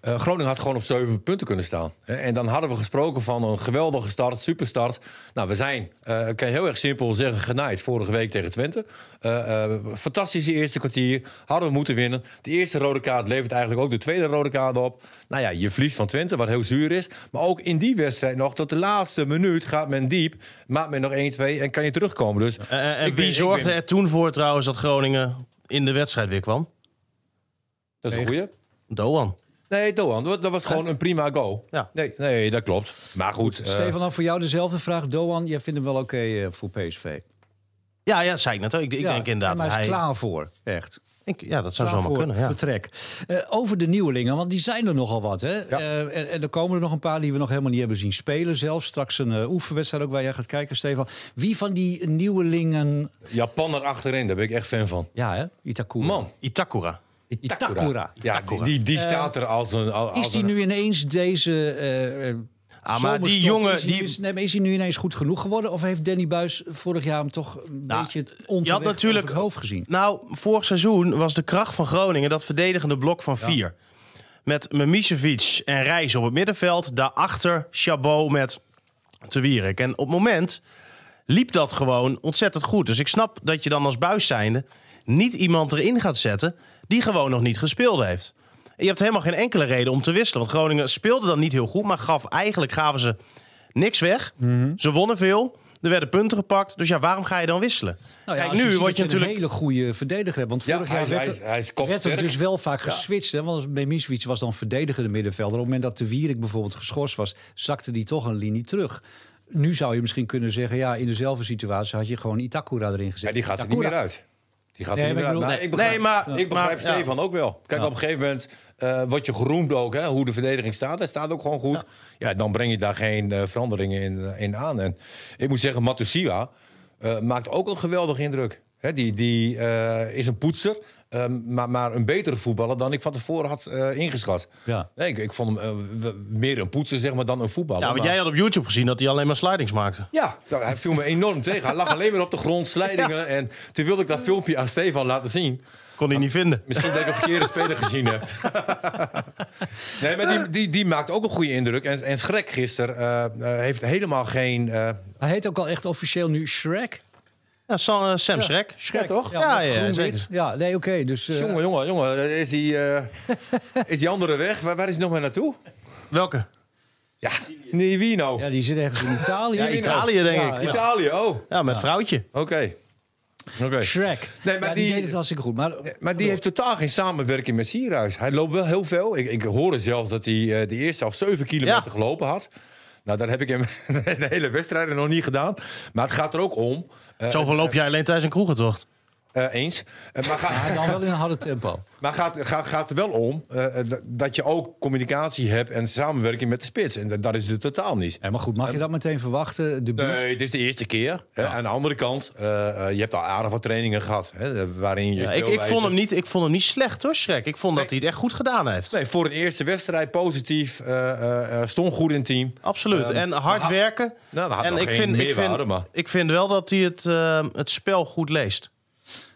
[SPEAKER 3] eh, Groningen had gewoon op zeven punten kunnen staan. Hè, En dan hadden we gesproken van een geweldige start, superstart. Nou, we zijn, eh, ik kan heel erg simpel zeggen, genaaid vorige week tegen Twente. Eh, eh, fantastische eerste kwartier, hadden we moeten winnen. De eerste rode kaart levert eigenlijk ook de tweede rode kaart op. Nou ja, je verliest van Twente, wat heel zuur is. Maar ook in die wedstrijd nog, tot de laatste minuut gaat men diep. Maakt men nog 1-2 en kan je terugkomen. Dus
[SPEAKER 4] Eh, eh, En
[SPEAKER 3] ik ben-
[SPEAKER 4] wie
[SPEAKER 3] ik
[SPEAKER 4] zorgde
[SPEAKER 3] ben-
[SPEAKER 4] er toen voor trouwens dat Groningen in de wedstrijd weer kwam?
[SPEAKER 3] dat is een goeie.
[SPEAKER 4] Doan.
[SPEAKER 3] Nee, Doan, dat dat was gewoon een prima goal.
[SPEAKER 4] Ja.
[SPEAKER 3] Nee, nee, dat klopt. Maar goed. eh,
[SPEAKER 2] Stefan, dan voor jou dezelfde vraag. Doan, jij vindt hem wel oké eh, voor PSV?
[SPEAKER 4] Ja, ja, dat zei ik net ook. Ik, ik
[SPEAKER 2] Ja,
[SPEAKER 4] denk inderdaad.
[SPEAKER 2] Maar hij is
[SPEAKER 4] hij-
[SPEAKER 2] klaar voor, echt.
[SPEAKER 4] ik- ja, dat zou
[SPEAKER 2] Klaar
[SPEAKER 4] zomaar
[SPEAKER 2] voor
[SPEAKER 4] kunnen. Ja.
[SPEAKER 2] vertrek. Eh, over de nieuwelingen, want die zijn er nogal wat. Hè? Eh, en, en er komen er nog een paar die we nog helemaal niet hebben zien spelen zelfs. Straks een eh, oefenwedstrijd ook waar jij gaat kijken, Stefan. Wie van die nieuwelingen...
[SPEAKER 3] eh, Japan er achterin, daar ben ik echt fan van.
[SPEAKER 2] Ja, hè? Itakura.
[SPEAKER 3] Man,
[SPEAKER 4] Itakura.
[SPEAKER 2] Itakura. Eh,
[SPEAKER 3] Ja, die, die, die staat er als een. Als
[SPEAKER 2] Is die
[SPEAKER 3] een-
[SPEAKER 2] nu ineens deze. eh, eh,
[SPEAKER 4] Ah, maar
[SPEAKER 2] zomerstop,
[SPEAKER 4] die jongen.
[SPEAKER 2] Is hij, nu
[SPEAKER 4] Die,
[SPEAKER 2] eens- nee, maar is hij nu ineens goed genoeg geworden? Of heeft Danny Buis vorig jaar hem toch een
[SPEAKER 4] Nou,
[SPEAKER 2] beetje het
[SPEAKER 4] je had
[SPEAKER 2] onterecht
[SPEAKER 4] natuurlijk-
[SPEAKER 2] over het hoofd gezien?
[SPEAKER 4] nou, vorig seizoen was de kracht van Groningen dat verdedigende blok van vier. Met Mimicevic en Reis op het middenveld. Daarachter Chabot met Te Wierik. En op het moment liep dat gewoon ontzettend goed. Dus ik snap dat je dan als buis zijnde niet iemand erin gaat zetten die gewoon nog niet gespeeld heeft. En je hebt helemaal geen enkele reden om te wisselen. Want Groningen speelde dan niet heel goed, maar gaf, eigenlijk gaven ze niks weg.
[SPEAKER 2] Mhm.
[SPEAKER 4] Ze wonnen veel, er werden punten gepakt. Dus ja, waarom ga je dan wisselen?
[SPEAKER 2] Nou ja, als
[SPEAKER 4] Kijk, nu
[SPEAKER 2] ziet
[SPEAKER 4] word
[SPEAKER 2] dat
[SPEAKER 4] je natuurlijk...
[SPEAKER 2] een hele goede verdediger hebt. Want
[SPEAKER 3] Ja,
[SPEAKER 2] vorig
[SPEAKER 3] hij
[SPEAKER 2] jaar
[SPEAKER 3] is-
[SPEAKER 2] werd,
[SPEAKER 3] hij is-
[SPEAKER 2] er-
[SPEAKER 3] hij is
[SPEAKER 2] werd er
[SPEAKER 3] kopsterk.
[SPEAKER 2] dus wel vaak geswitcht. Hè? Want Memiswitsch was dan verdedigende middenvelder. Op het moment dat de Wierik bijvoorbeeld geschorst was, zakte die toch een linie terug. Nu zou je misschien kunnen zeggen, ja, in dezelfde situatie had je gewoon Itakura erin gezet.
[SPEAKER 3] Ja, die gaat er niet
[SPEAKER 2] Itakura.
[SPEAKER 3] meer uit. Die gaat
[SPEAKER 2] Nee,
[SPEAKER 3] er niet
[SPEAKER 2] maar
[SPEAKER 3] meer uit.
[SPEAKER 2] ik bedoel-
[SPEAKER 3] Maar
[SPEAKER 2] Nee,
[SPEAKER 3] ik begrijp,
[SPEAKER 4] nee, maar-
[SPEAKER 3] ik begrijp
[SPEAKER 4] maar- ja.
[SPEAKER 3] Stefan ook wel. Kijk, op een gegeven moment eh word je geroemd ook, hè, hoe de verdediging staat. Hij staat ook gewoon goed. Ja, dan breng je daar geen eh, veranderingen in, eh, in aan. En ik moet zeggen, Matusiwa eh, maakt ook een geweldig indruk. Hè, die die eh, is een poetser, eh, maar, maar een betere voetballer dan ik van tevoren had eh, ingeschat.
[SPEAKER 2] Ja.
[SPEAKER 3] Nee, ik, ik vond hem eh, w- meer een poetser zeg maar, dan een voetballer.
[SPEAKER 4] Ja, want
[SPEAKER 3] Maar-
[SPEAKER 4] jij had op YouTube gezien dat hij alleen maar slidings maakte.
[SPEAKER 3] ja, nou, hij viel me enorm tegen. Hij lag alleen maar op de grond, slijdingen. En toen wilde ik dat filmpje aan Stefan laten zien.
[SPEAKER 4] Kon hij niet vinden.
[SPEAKER 3] Misschien dat ik een verkeerde speler gezien heb. nee, maar die, die, die maakt ook een goede indruk. En, en Schrek gisteren eh, eh, heeft helemaal geen... eh,
[SPEAKER 2] Hij heet ook al echt officieel nu Shrek.
[SPEAKER 4] Ja, Sam, eh, Sam Schrek.
[SPEAKER 2] Shrek,
[SPEAKER 3] toch?
[SPEAKER 2] Ja,
[SPEAKER 4] Ja,
[SPEAKER 2] met
[SPEAKER 4] ja,
[SPEAKER 2] groen-wit.
[SPEAKER 4] zeker.
[SPEAKER 2] Ja, nee, oké. dus, eh,
[SPEAKER 3] jongen, jongen, jongen. Is die, eh, is die andere weg? Waar, waar is hij nog maar naartoe?
[SPEAKER 4] Welke?
[SPEAKER 3] Ja, nee, wie nou?
[SPEAKER 2] Ja, die zit ergens in Italië.
[SPEAKER 3] Ja,
[SPEAKER 4] Italië, denk
[SPEAKER 2] Ja,
[SPEAKER 4] ik.
[SPEAKER 3] Italië, oh. Oké.
[SPEAKER 4] Ja, met vrouwtje.
[SPEAKER 3] Oké.
[SPEAKER 2] Shrek.
[SPEAKER 3] Nee, maar
[SPEAKER 2] Ja, die,
[SPEAKER 3] die-
[SPEAKER 2] deed het hartstikke goed. Maar,
[SPEAKER 3] Maar die heeft totaal geen samenwerking met Sierhuis. Hij loopt wel heel veel. Ik, ik hoorde zelfs dat hij eh, de eerste half 7 kilometer
[SPEAKER 4] Ja.
[SPEAKER 3] gelopen had. Nou, daar heb ik hem de hele wedstrijd nog niet gedaan. Maar het gaat er ook om. eh,
[SPEAKER 4] Zoveel loop jij alleen tijdens een kroegentocht.
[SPEAKER 3] eh, eens. Eh, maar ga-
[SPEAKER 2] Maar dan wel in een harde tempo.
[SPEAKER 3] Maar gaat, gaat, gaat er wel om eh, eh, dat- dat je ook communicatie hebt en samenwerking met de spits. En dat, dat is het totaal niet.
[SPEAKER 2] Ja, maar goed, mag je dat meteen verwachten? De buurt?
[SPEAKER 3] Nee, het is de eerste keer. Hè. Aan de andere kant, eh, eh, je hebt al aardig wat trainingen gehad. Hè, eh, waarin je
[SPEAKER 4] Ja, ik, ik,
[SPEAKER 3] speelwijze-
[SPEAKER 4] vond hem niet, ik vond hem niet slecht hoor, Shrek. Ik vond dat hij het echt goed gedaan heeft.
[SPEAKER 3] Nee, voor een eerste wedstrijd positief. eh, eh, eh, stond goed in het team.
[SPEAKER 4] Absoluut.
[SPEAKER 3] Ehm,
[SPEAKER 4] en hard
[SPEAKER 3] maar-
[SPEAKER 4] werken.
[SPEAKER 3] Nou, we hadden
[SPEAKER 4] En
[SPEAKER 3] nog
[SPEAKER 4] ik
[SPEAKER 3] geen
[SPEAKER 4] vind, ik,
[SPEAKER 3] meerwaarde,
[SPEAKER 4] vind,
[SPEAKER 3] maar-
[SPEAKER 4] ik vind wel dat hij het, ehm, het spel goed leest.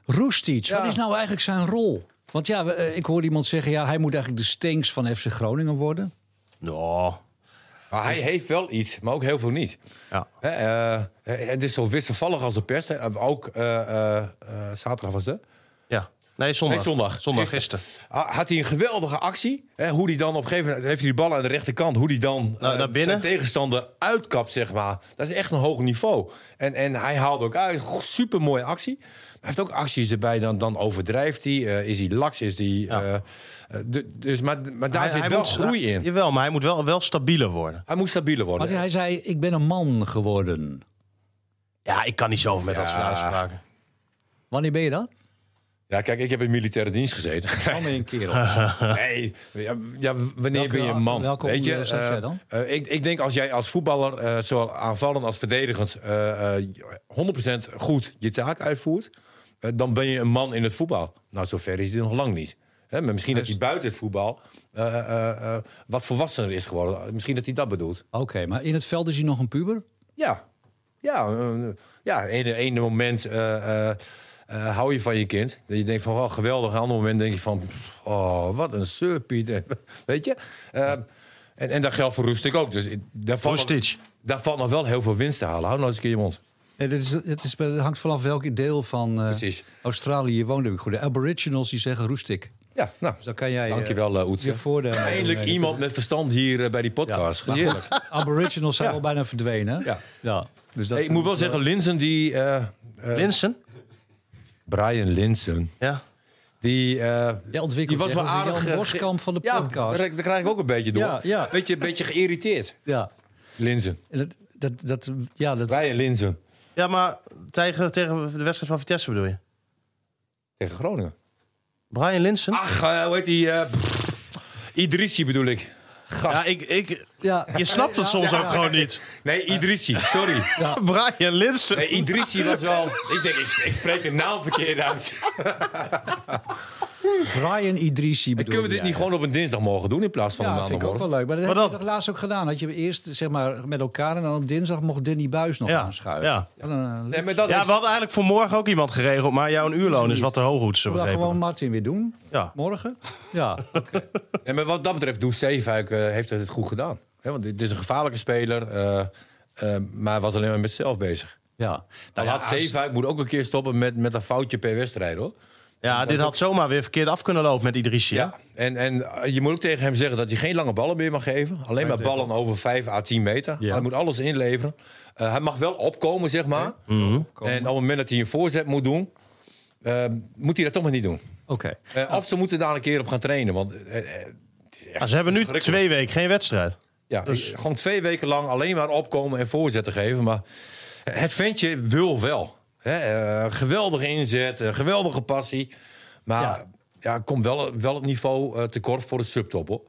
[SPEAKER 2] Roestic,
[SPEAKER 3] Ja.
[SPEAKER 2] wat is nou eigenlijk zijn rol? Want ja, we- eh, ik hoorde iemand zeggen, ja, hij moet eigenlijk de Stinks van FC Groningen worden.
[SPEAKER 4] Ja.
[SPEAKER 3] Maar hij heeft wel iets, maar ook heel veel niet.
[SPEAKER 4] Ja.
[SPEAKER 3] Hè, eh, het is zo wisselvallig als de pers. hè. Ook eh, eh, eh, zaterdag was het. hè?
[SPEAKER 4] ja. Nee, zondag.
[SPEAKER 3] Nee, zondag.
[SPEAKER 4] Zondag,
[SPEAKER 3] Gisteren.
[SPEAKER 4] gisteren.
[SPEAKER 3] Ah, Had hij een geweldige actie. Hè, hoe die dan op een gegeven moment... Heeft hij die bal aan de rechterkant. Hoe die dan
[SPEAKER 4] Nou,
[SPEAKER 3] eh,
[SPEAKER 4] naar binnen.
[SPEAKER 3] zijn tegenstander uitkapt, zeg maar. Dat is echt een hoog niveau. En, en hij haalde ook uit. Super mooie actie. Maar hij heeft ook acties erbij. Dan, dan overdrijft hij. eh, is hij laks? Is hij... eh, eh, du- dus, maar, maar daar zit wel
[SPEAKER 4] moet-
[SPEAKER 3] groei in.
[SPEAKER 4] Jawel, maar hij moet wel, wel stabieler worden.
[SPEAKER 3] Hij moet stabieler worden.
[SPEAKER 2] Want hij zei, ik ben een man geworden.
[SPEAKER 4] Ja, ik kan niet zo met dat soort
[SPEAKER 3] Ja.
[SPEAKER 4] uitspraken.
[SPEAKER 2] Wanneer ben je dat?
[SPEAKER 3] Ja, kijk, ik heb in militaire dienst gezeten.
[SPEAKER 2] Dan ben je een kerel.
[SPEAKER 3] Nee, ja, ja, wanneer
[SPEAKER 2] Welke-
[SPEAKER 3] ben je een man?
[SPEAKER 2] welke
[SPEAKER 3] weet je,
[SPEAKER 2] onderdeel zeg
[SPEAKER 3] eh,
[SPEAKER 2] jij dan?
[SPEAKER 3] eh, ik, ik denk als jij als voetballer, eh, zowel aanvallend als verdedigend, eh, eh, 100% goed je taak uitvoert, eh, dan ben je een man in het voetbal. Nou, zover is dit nog lang niet. Hè, maar misschien dat hij buiten het voetbal eh, eh, eh, wat volwassener is geworden. Misschien dat hij dat bedoelt.
[SPEAKER 2] Oké, maar in het veld is hij nog een puber?
[SPEAKER 3] Ja, ja, eh, ja. Ene, ene moment eh, eh, eh, hou je van je kind. Dat je denkt van, oh, geweldig. Een ander moment denk je van, pff, oh, wat een surpiet. Weet je? Eh, en, en dat geldt voor Rustic ook. Dus ik- daar valt, nog-
[SPEAKER 4] Rustic.
[SPEAKER 3] daar valt nog wel heel veel winst te halen. Hou nou eens een keer je mond.
[SPEAKER 2] Nee, dat is, het, is, het hangt vanaf welk deel van eh,
[SPEAKER 3] Precies.
[SPEAKER 2] Australië je woont. Heb ik goed. De aboriginals die zeggen roestik.
[SPEAKER 3] Ja, nou.
[SPEAKER 2] Dus dan kan jij
[SPEAKER 3] Dankjewel,
[SPEAKER 2] eh,
[SPEAKER 3] eh, Oetse.
[SPEAKER 2] je voordeel mee doen, eh,
[SPEAKER 3] Eindelijk
[SPEAKER 2] weet ik.
[SPEAKER 3] iemand met verstand hier eh, bij die podcast.
[SPEAKER 2] Maar
[SPEAKER 3] Heerlijk.
[SPEAKER 2] nou, goed, aboriginals zijn
[SPEAKER 3] Ja.
[SPEAKER 2] al bijna verdwenen. hè?
[SPEAKER 3] Ja.
[SPEAKER 2] Dus dat
[SPEAKER 3] Hey, ik moet wel zeggen, Linsen die... eh, eh,
[SPEAKER 4] Linsen?
[SPEAKER 3] Brian Linsen.
[SPEAKER 4] Ja.
[SPEAKER 3] Die, eh,
[SPEAKER 2] Jij ontwikkelt
[SPEAKER 3] die was
[SPEAKER 2] je
[SPEAKER 3] wel
[SPEAKER 2] echt als de
[SPEAKER 3] aardig...
[SPEAKER 2] Jan
[SPEAKER 3] eh,
[SPEAKER 2] Boskamp van de
[SPEAKER 3] ja,
[SPEAKER 2] podcast.
[SPEAKER 3] daar, daar krijg ik ook een beetje door.
[SPEAKER 2] Ja, ja.
[SPEAKER 3] Beetje, een beetje geïrriteerd.
[SPEAKER 2] Ja,
[SPEAKER 3] Linzen.
[SPEAKER 2] En dat, dat, dat, ja, dat,
[SPEAKER 3] Wij en Linzen.
[SPEAKER 4] Ja, maar tegen, tegen de wedstrijd van Vitesse bedoel je?
[SPEAKER 3] Tegen Groningen.
[SPEAKER 4] Brian Linsen?
[SPEAKER 3] Ach, eh, hoe heet die? eh Idrissi bedoel ik. Gast.
[SPEAKER 4] ja, ik, ik,
[SPEAKER 2] ja.
[SPEAKER 4] je snapt het soms ook gewoon niet.
[SPEAKER 3] Nee, Idrissi. Sorry.
[SPEAKER 4] Brian Linsen.
[SPEAKER 3] Nee, Idrissi was wel... Ik denk, ik, ik spreek de naam verkeerd uit.
[SPEAKER 2] Brian Idrisi bedoel
[SPEAKER 3] Kunnen we
[SPEAKER 2] je
[SPEAKER 3] dit
[SPEAKER 2] eigenlijk?
[SPEAKER 3] niet gewoon op een dinsdag mogen doen in plaats van een
[SPEAKER 2] Ja, vind ik ook
[SPEAKER 3] maandagmorgen?
[SPEAKER 2] wel leuk. Maar dat
[SPEAKER 4] Maar
[SPEAKER 2] heb je
[SPEAKER 4] dat-
[SPEAKER 2] toch laatst ook gedaan. Had je eerst zeg maar, met elkaar en dan op dinsdag mocht Danny Buis nog
[SPEAKER 4] Ja,
[SPEAKER 2] aanschuiven.
[SPEAKER 4] ja.
[SPEAKER 2] Dan, eh,
[SPEAKER 3] Nee, maar dat
[SPEAKER 4] Ja,
[SPEAKER 3] is...
[SPEAKER 4] we hadden eigenlijk voor morgen ook iemand geregeld, maar jouw uurloon is wat te hoog, hoe ze
[SPEAKER 2] we dat gewoon
[SPEAKER 4] begrepen.
[SPEAKER 2] Martin weer doen.
[SPEAKER 4] Ja.
[SPEAKER 2] Morgen? Ja.
[SPEAKER 3] Nee, maar wat dat betreft, Doe Zeefuik eh, heeft het goed gedaan. Hè, want het is een gevaarlijke speler, eh, eh, maar hij was alleen maar met zichzelf bezig.
[SPEAKER 2] ja.
[SPEAKER 3] Nou,
[SPEAKER 2] Nou ja,
[SPEAKER 3] laat
[SPEAKER 2] als-
[SPEAKER 3] Zeefuik moet ook een keer stoppen met, met een foutje per wedstrijd, hoor.
[SPEAKER 4] Ja, dit had zomaar weer verkeerd af kunnen lopen met Idrissi. hè?
[SPEAKER 3] Ja, en, en eh, je moet ook tegen hem zeggen dat hij geen lange ballen meer mag geven. Alleen maar ballen over 5 à 10 meter.
[SPEAKER 2] Ja.
[SPEAKER 3] Hij moet alles inleveren. Eh, hij mag wel opkomen, zeg maar.
[SPEAKER 2] Mhm.
[SPEAKER 3] En op het moment dat hij een voorzet moet doen, eh, moet hij dat toch maar niet doen.
[SPEAKER 2] Oké.
[SPEAKER 3] Eh, Of ze moeten daar een keer op gaan trainen. Want eh, eh, het is echt
[SPEAKER 4] Maar ze hebben nu
[SPEAKER 3] verschrikkelijk.
[SPEAKER 4] twee weken geen wedstrijd.
[SPEAKER 3] Ja, ik- gewoon twee weken lang alleen maar opkomen en voorzetten geven. Maar het ventje wil wel. Hè, eh, geweldige inzet, eh, geweldige passie. Maar ja.
[SPEAKER 4] Ja.
[SPEAKER 3] komt wel, wel het niveau eh, tekort voor de subtop, hoor.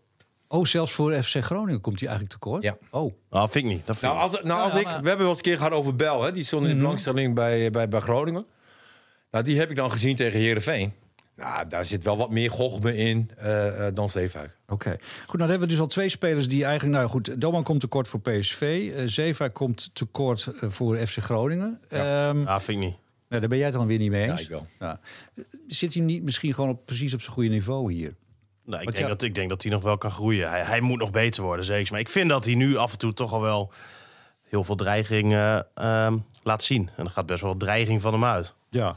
[SPEAKER 3] Nou,
[SPEAKER 2] Oh, zelfs voor FC Groningen komt hij eigenlijk tekort?
[SPEAKER 3] Ja.
[SPEAKER 2] Oh.
[SPEAKER 4] Nou, vind ik niet. Dat vind
[SPEAKER 3] Nou,
[SPEAKER 4] ik
[SPEAKER 3] als, nou, als
[SPEAKER 2] Ja,
[SPEAKER 3] ik, we
[SPEAKER 2] maar-
[SPEAKER 3] hebben wel eens een keer gehad over Bel. Hè? Die stond in de belangstelling bij, eh, bij, bij Groningen. Nou, die heb ik dan gezien tegen Herenveen. Nou, daar zit wel wat meer gochme in eh, eh, dan Zeefuik.
[SPEAKER 2] Oké. Goed, nou dan hebben we dus al twee spelers die eigenlijk... Nou goed, Doman komt tekort voor PSV. eh Zeva komt tekort eh, voor FC Groningen. Ehm,
[SPEAKER 4] niet. Ja, vind ik niet.
[SPEAKER 2] nou, daar ben jij het dan weer niet mee eens.
[SPEAKER 3] Ja, ik wel.
[SPEAKER 2] Ja. Zit hij niet misschien gewoon op, precies op zijn goede niveau hier?
[SPEAKER 4] Nou, ik,
[SPEAKER 2] Want
[SPEAKER 4] denk
[SPEAKER 2] ja-
[SPEAKER 4] dat, ik denk dat hij nog wel kan groeien. Hij, hij moet nog beter worden, zeker. Maar ik vind dat hij nu af en toe toch al wel heel veel dreiging eh, ehm, laat zien. En er gaat best wel wat dreiging van hem uit.
[SPEAKER 2] Ja.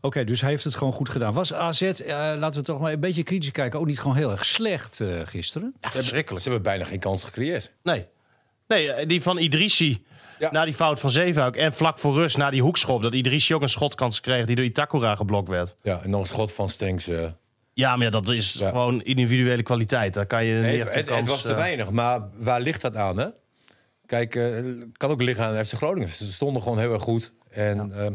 [SPEAKER 2] Oké, dus hij heeft het gewoon goed gedaan. Was AZ, eh, laten we toch maar een beetje kritisch kijken... ook niet gewoon heel erg slecht eh, gisteren?
[SPEAKER 4] Ja,
[SPEAKER 3] Ze hebben bijna geen kans gecreëerd.
[SPEAKER 4] Nee. Nee, eh, die van Idrissi.
[SPEAKER 3] Ja.
[SPEAKER 4] Na die fout van Zeefuik. En vlak voor rust, na die hoekschop. Dat Idrissi ook een schotkans kreeg die door Itakura geblokt werd.
[SPEAKER 3] Ja, en dan schot van Stenks. eh.
[SPEAKER 4] Ja, maar ja, dat is
[SPEAKER 3] Ja.
[SPEAKER 4] gewoon individuele kwaliteit. Daar kan je
[SPEAKER 3] Nee,
[SPEAKER 4] niet
[SPEAKER 3] het,
[SPEAKER 4] echt een
[SPEAKER 3] het- het
[SPEAKER 4] kans,
[SPEAKER 3] was te
[SPEAKER 4] eh,
[SPEAKER 3] weinig, maar waar ligt dat aan? Hè? Kijk, eh kan ook liggen aan FC Groningen. Ze stonden gewoon heel erg goed. En ehm,